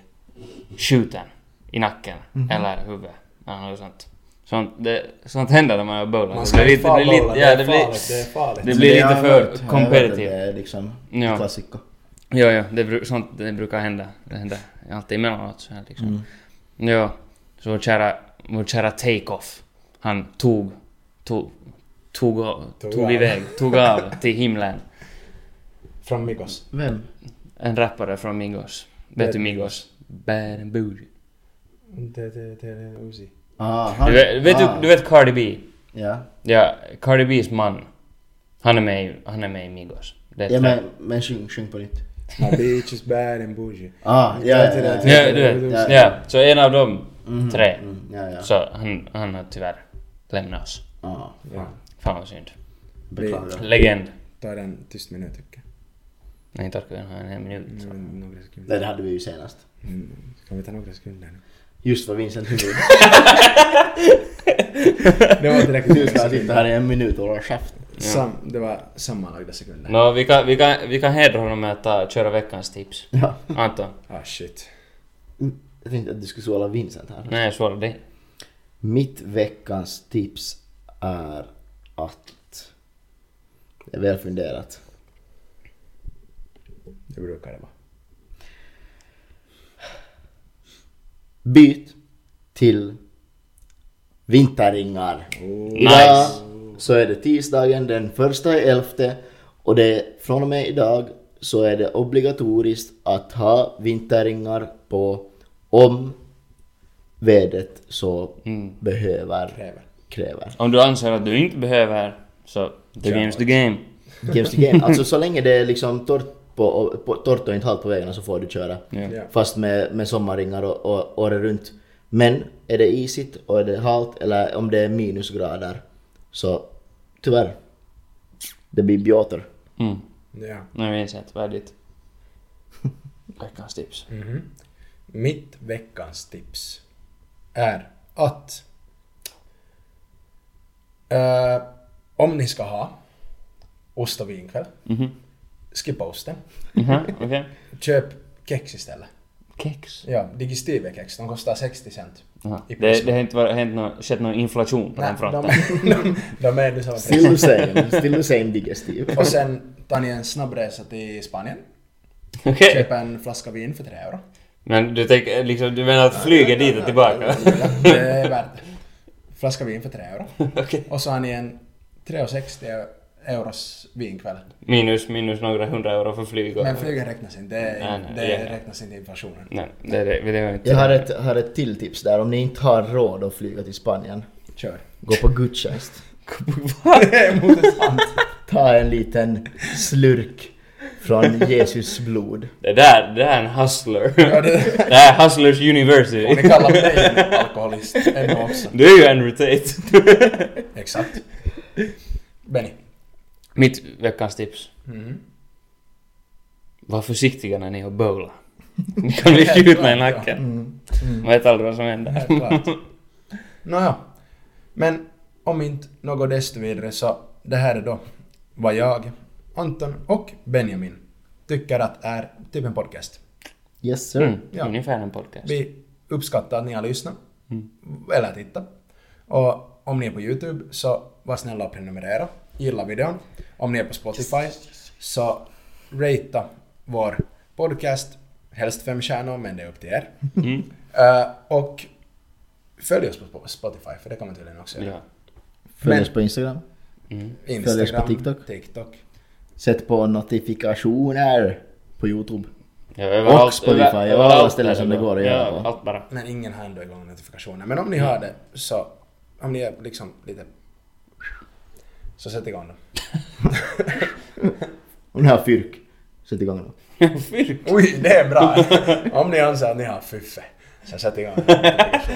Speaker 3: skjuten i nacken eller huvudet. Eller något sånt. Sånt, det, sånt händer när man är och bowlar.
Speaker 1: Man
Speaker 3: Det
Speaker 1: ska
Speaker 3: blir
Speaker 1: inte
Speaker 3: lite- det blir
Speaker 1: farbolla,
Speaker 3: lite-
Speaker 1: det
Speaker 3: ja,
Speaker 1: är
Speaker 3: det blir-
Speaker 1: farligt. Det är farligt.
Speaker 3: Det blir
Speaker 2: har
Speaker 3: lite
Speaker 2: jag hört.
Speaker 3: för
Speaker 2: Jag har hört att Det
Speaker 3: competitive.
Speaker 2: är liksom
Speaker 3: Ja.
Speaker 2: klassiker.
Speaker 3: Ja, ja, det, bru- sånt det brukar hända. Det händer alltid emellanåt så här liksom.
Speaker 2: Mm.
Speaker 3: Ja, så vår kära, vår kära Take-Off, han tog, tog, tog, av-
Speaker 1: Tog
Speaker 3: tog
Speaker 1: av.
Speaker 3: iväg, tog av till himlen.
Speaker 1: Från Migos.
Speaker 2: Vem?
Speaker 3: En rappare från Migos. Vet du Migos? Bad and bougie.
Speaker 1: Det, det, det är Uzi.
Speaker 2: Ah, han,
Speaker 3: Du vet, vet
Speaker 2: ah.
Speaker 3: du, du vet Cardi B?
Speaker 2: Ja.
Speaker 3: Ja, Cardi B's man. Han är med, i- han är med i Migos. Det är
Speaker 2: ja
Speaker 3: tre-
Speaker 2: men, men sjung, sjung på nytt.
Speaker 1: My bitch is bad and bougie.
Speaker 2: Ah, ja, ja, ja, ja.
Speaker 3: Ja, du vet.
Speaker 2: Ja.
Speaker 3: Ja. så en av dem tre.
Speaker 2: Mm, ja, ja.
Speaker 3: Så han, han har tyvärr lämnat oss.
Speaker 2: Ah,
Speaker 1: Ja.
Speaker 3: Fan vad synd.
Speaker 2: beklagar.
Speaker 3: Legend.
Speaker 1: Ta den tyst minut tycker
Speaker 3: Nej, inte orkar jag ha en hel minut.
Speaker 1: jag. Mm, Några sekunder.
Speaker 2: Nej, det hade vi ju senast.
Speaker 1: Mm. Kan vi ta några sekunder nu?
Speaker 2: Just vad Vincent Huvud.
Speaker 1: Det var tillräckligt
Speaker 2: Du
Speaker 1: många
Speaker 2: ska
Speaker 1: sekunder.
Speaker 2: sitta här i en minut och hålla käften.
Speaker 1: Sam, det var sammanlagda sekunder.
Speaker 3: Nå, vi kan, vi, kan, vi kan hedra honom med att ta, köra veckans tips.
Speaker 2: Ja.
Speaker 3: Anton?
Speaker 1: Ah shit.
Speaker 2: Jag tänkte att du skulle såla Vincent här.
Speaker 3: Nej, jag svarar dig.
Speaker 2: Mitt veckans tips är att... Det är väl funderat.
Speaker 1: Det brukar det vara.
Speaker 2: Byt till vinterringar.
Speaker 1: Oh.
Speaker 3: Nice!
Speaker 2: så är det tisdagen den första i elfte och det är från och med idag så är det obligatoriskt att ha vinterringar på om vädret så behöver
Speaker 1: Kräver.
Speaker 2: kräver.
Speaker 3: Om du anser att du inte behöver, så the game's the game.
Speaker 2: Games to game. Alltså så länge det är liksom torrt, på, på, torrt och inte halt på vägarna så får du köra.
Speaker 3: Ja.
Speaker 1: Ja.
Speaker 2: Fast med, med sommarringar och, och året runt. Men är det isigt och är det halt eller om det är minusgrader så tyvärr. Det blir bjåter.
Speaker 3: Mm.
Speaker 1: Ja.
Speaker 3: Nu minns jag inte vad är ditt veckans tips.
Speaker 1: Mhm. Mitt veckans tips är att eh, om ni ska ha ost och vinkväll,
Speaker 3: Mhm.
Speaker 1: skippa osten.
Speaker 3: Mhm, Okej.
Speaker 1: Köp kex istället.
Speaker 3: Kex.
Speaker 1: Ja, Digestive-kex, de kostar 60 cent.
Speaker 3: Jaha.
Speaker 1: I
Speaker 3: Det, det
Speaker 1: princip.
Speaker 3: har inte varit, hänt någon, skett någon inflation på
Speaker 1: Nej,
Speaker 3: den fronten.
Speaker 1: De, de, de är nu samma pris.
Speaker 2: Still the same, still the same digestiv.
Speaker 1: Och sen tar ni en snabb resa till Spanien,
Speaker 3: Okej.
Speaker 1: köper en flaska vin för 3 euro.
Speaker 3: Men du, tänker, liksom, du menar att flyga dit och tillbaka?
Speaker 1: Ja, det är värt det. Flaska vin för 3 euro.
Speaker 3: Okej.
Speaker 1: Och så har ni en 3,60 euros vinkväll.
Speaker 3: Minus, minus några hundra euro för flyg och...
Speaker 1: Men flygen räknas inte. Det, är-
Speaker 3: Nej, nej,
Speaker 1: det
Speaker 3: ja, ja.
Speaker 1: räknas inte i inflationen.
Speaker 3: Nej, det, det, det var inte...
Speaker 2: Jag har ett, har ett till tips där. Om ni inte har råd att flyga till Spanien,
Speaker 1: Kör.
Speaker 2: gå på gudstjänst.
Speaker 1: det är mot ett sant.
Speaker 2: Ta en liten slurk från Jesus blod.
Speaker 3: Det där, det där är en hustler.
Speaker 1: Ja, det-
Speaker 3: Det här är Hustlers University.
Speaker 1: Och ni kallar mig en alkoholist ännu också.
Speaker 3: Du är ju Andrew Tate.
Speaker 1: Exakt. Benny.
Speaker 3: Mitt veckans tips.
Speaker 1: Mhm.
Speaker 3: Var försiktiga när ni har bowlar. Ni kan bli skjutna i nacken.
Speaker 2: Mm.
Speaker 3: Man vet aldrig vad som händer.
Speaker 1: Helt klart. Nåja. Men om inte något desto vidare så det här är då vad jag, Anton och Benjamin tycker att är typ en podcast.
Speaker 2: Yes sir.
Speaker 3: Mm,
Speaker 1: Ja.
Speaker 3: Ungefär en podcast.
Speaker 1: Vi uppskattar att ni har lyssnat.
Speaker 3: Mm.
Speaker 1: Eller tittat. Och om ni är på YouTube så var snälla och prenumerera. Gilla videon. Om ni är på Spotify så ratea vår podcast. Helst fem stjärnor men det är upp till er.
Speaker 3: Mm.
Speaker 1: Eh, och följ oss på Spotify för det kan man tydligen också göra.
Speaker 3: Ja.
Speaker 2: Följ
Speaker 1: Men-
Speaker 2: oss på Instagram.
Speaker 3: Mm.
Speaker 1: Instagram,
Speaker 2: Följ oss på TikTok.
Speaker 1: TikTok.
Speaker 2: Sätt på notifikationer på Youtube.
Speaker 3: Ja, överallt-
Speaker 2: Och Spotify,
Speaker 3: över-
Speaker 2: över alla
Speaker 3: överallt
Speaker 2: ställen som det går att
Speaker 3: ja,
Speaker 2: göra på.
Speaker 3: Allt bara.
Speaker 1: Men ingen har ändå igång notifikationer. Men om ni
Speaker 2: Mm.
Speaker 1: har det så, om ni är liksom lite... Så sätt igång dem.
Speaker 2: Om ni har fyrk, sätt igång då.
Speaker 3: Fyrk.
Speaker 1: Oj, det är bra! Om ni anser att ni har fuffe, så sätt igång.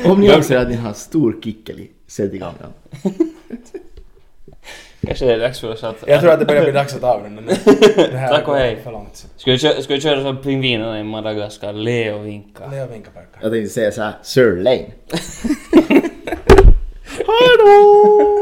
Speaker 2: Om ni anser att ni har stor kickeli, sätt igång då.
Speaker 3: Kanske det är dags för oss att...
Speaker 1: Jag tror att det börjar bli dags att avrunda nu. Det här
Speaker 3: Tack och
Speaker 1: går
Speaker 3: hej.
Speaker 1: för långt.
Speaker 3: Ska vi köra, ska vi köra som pingvinerna i Madagaskar? Le och vinka.
Speaker 1: Leo vinka pojkar.
Speaker 2: Jag tänkte säga såhär, Sir Lane.
Speaker 3: Hallå!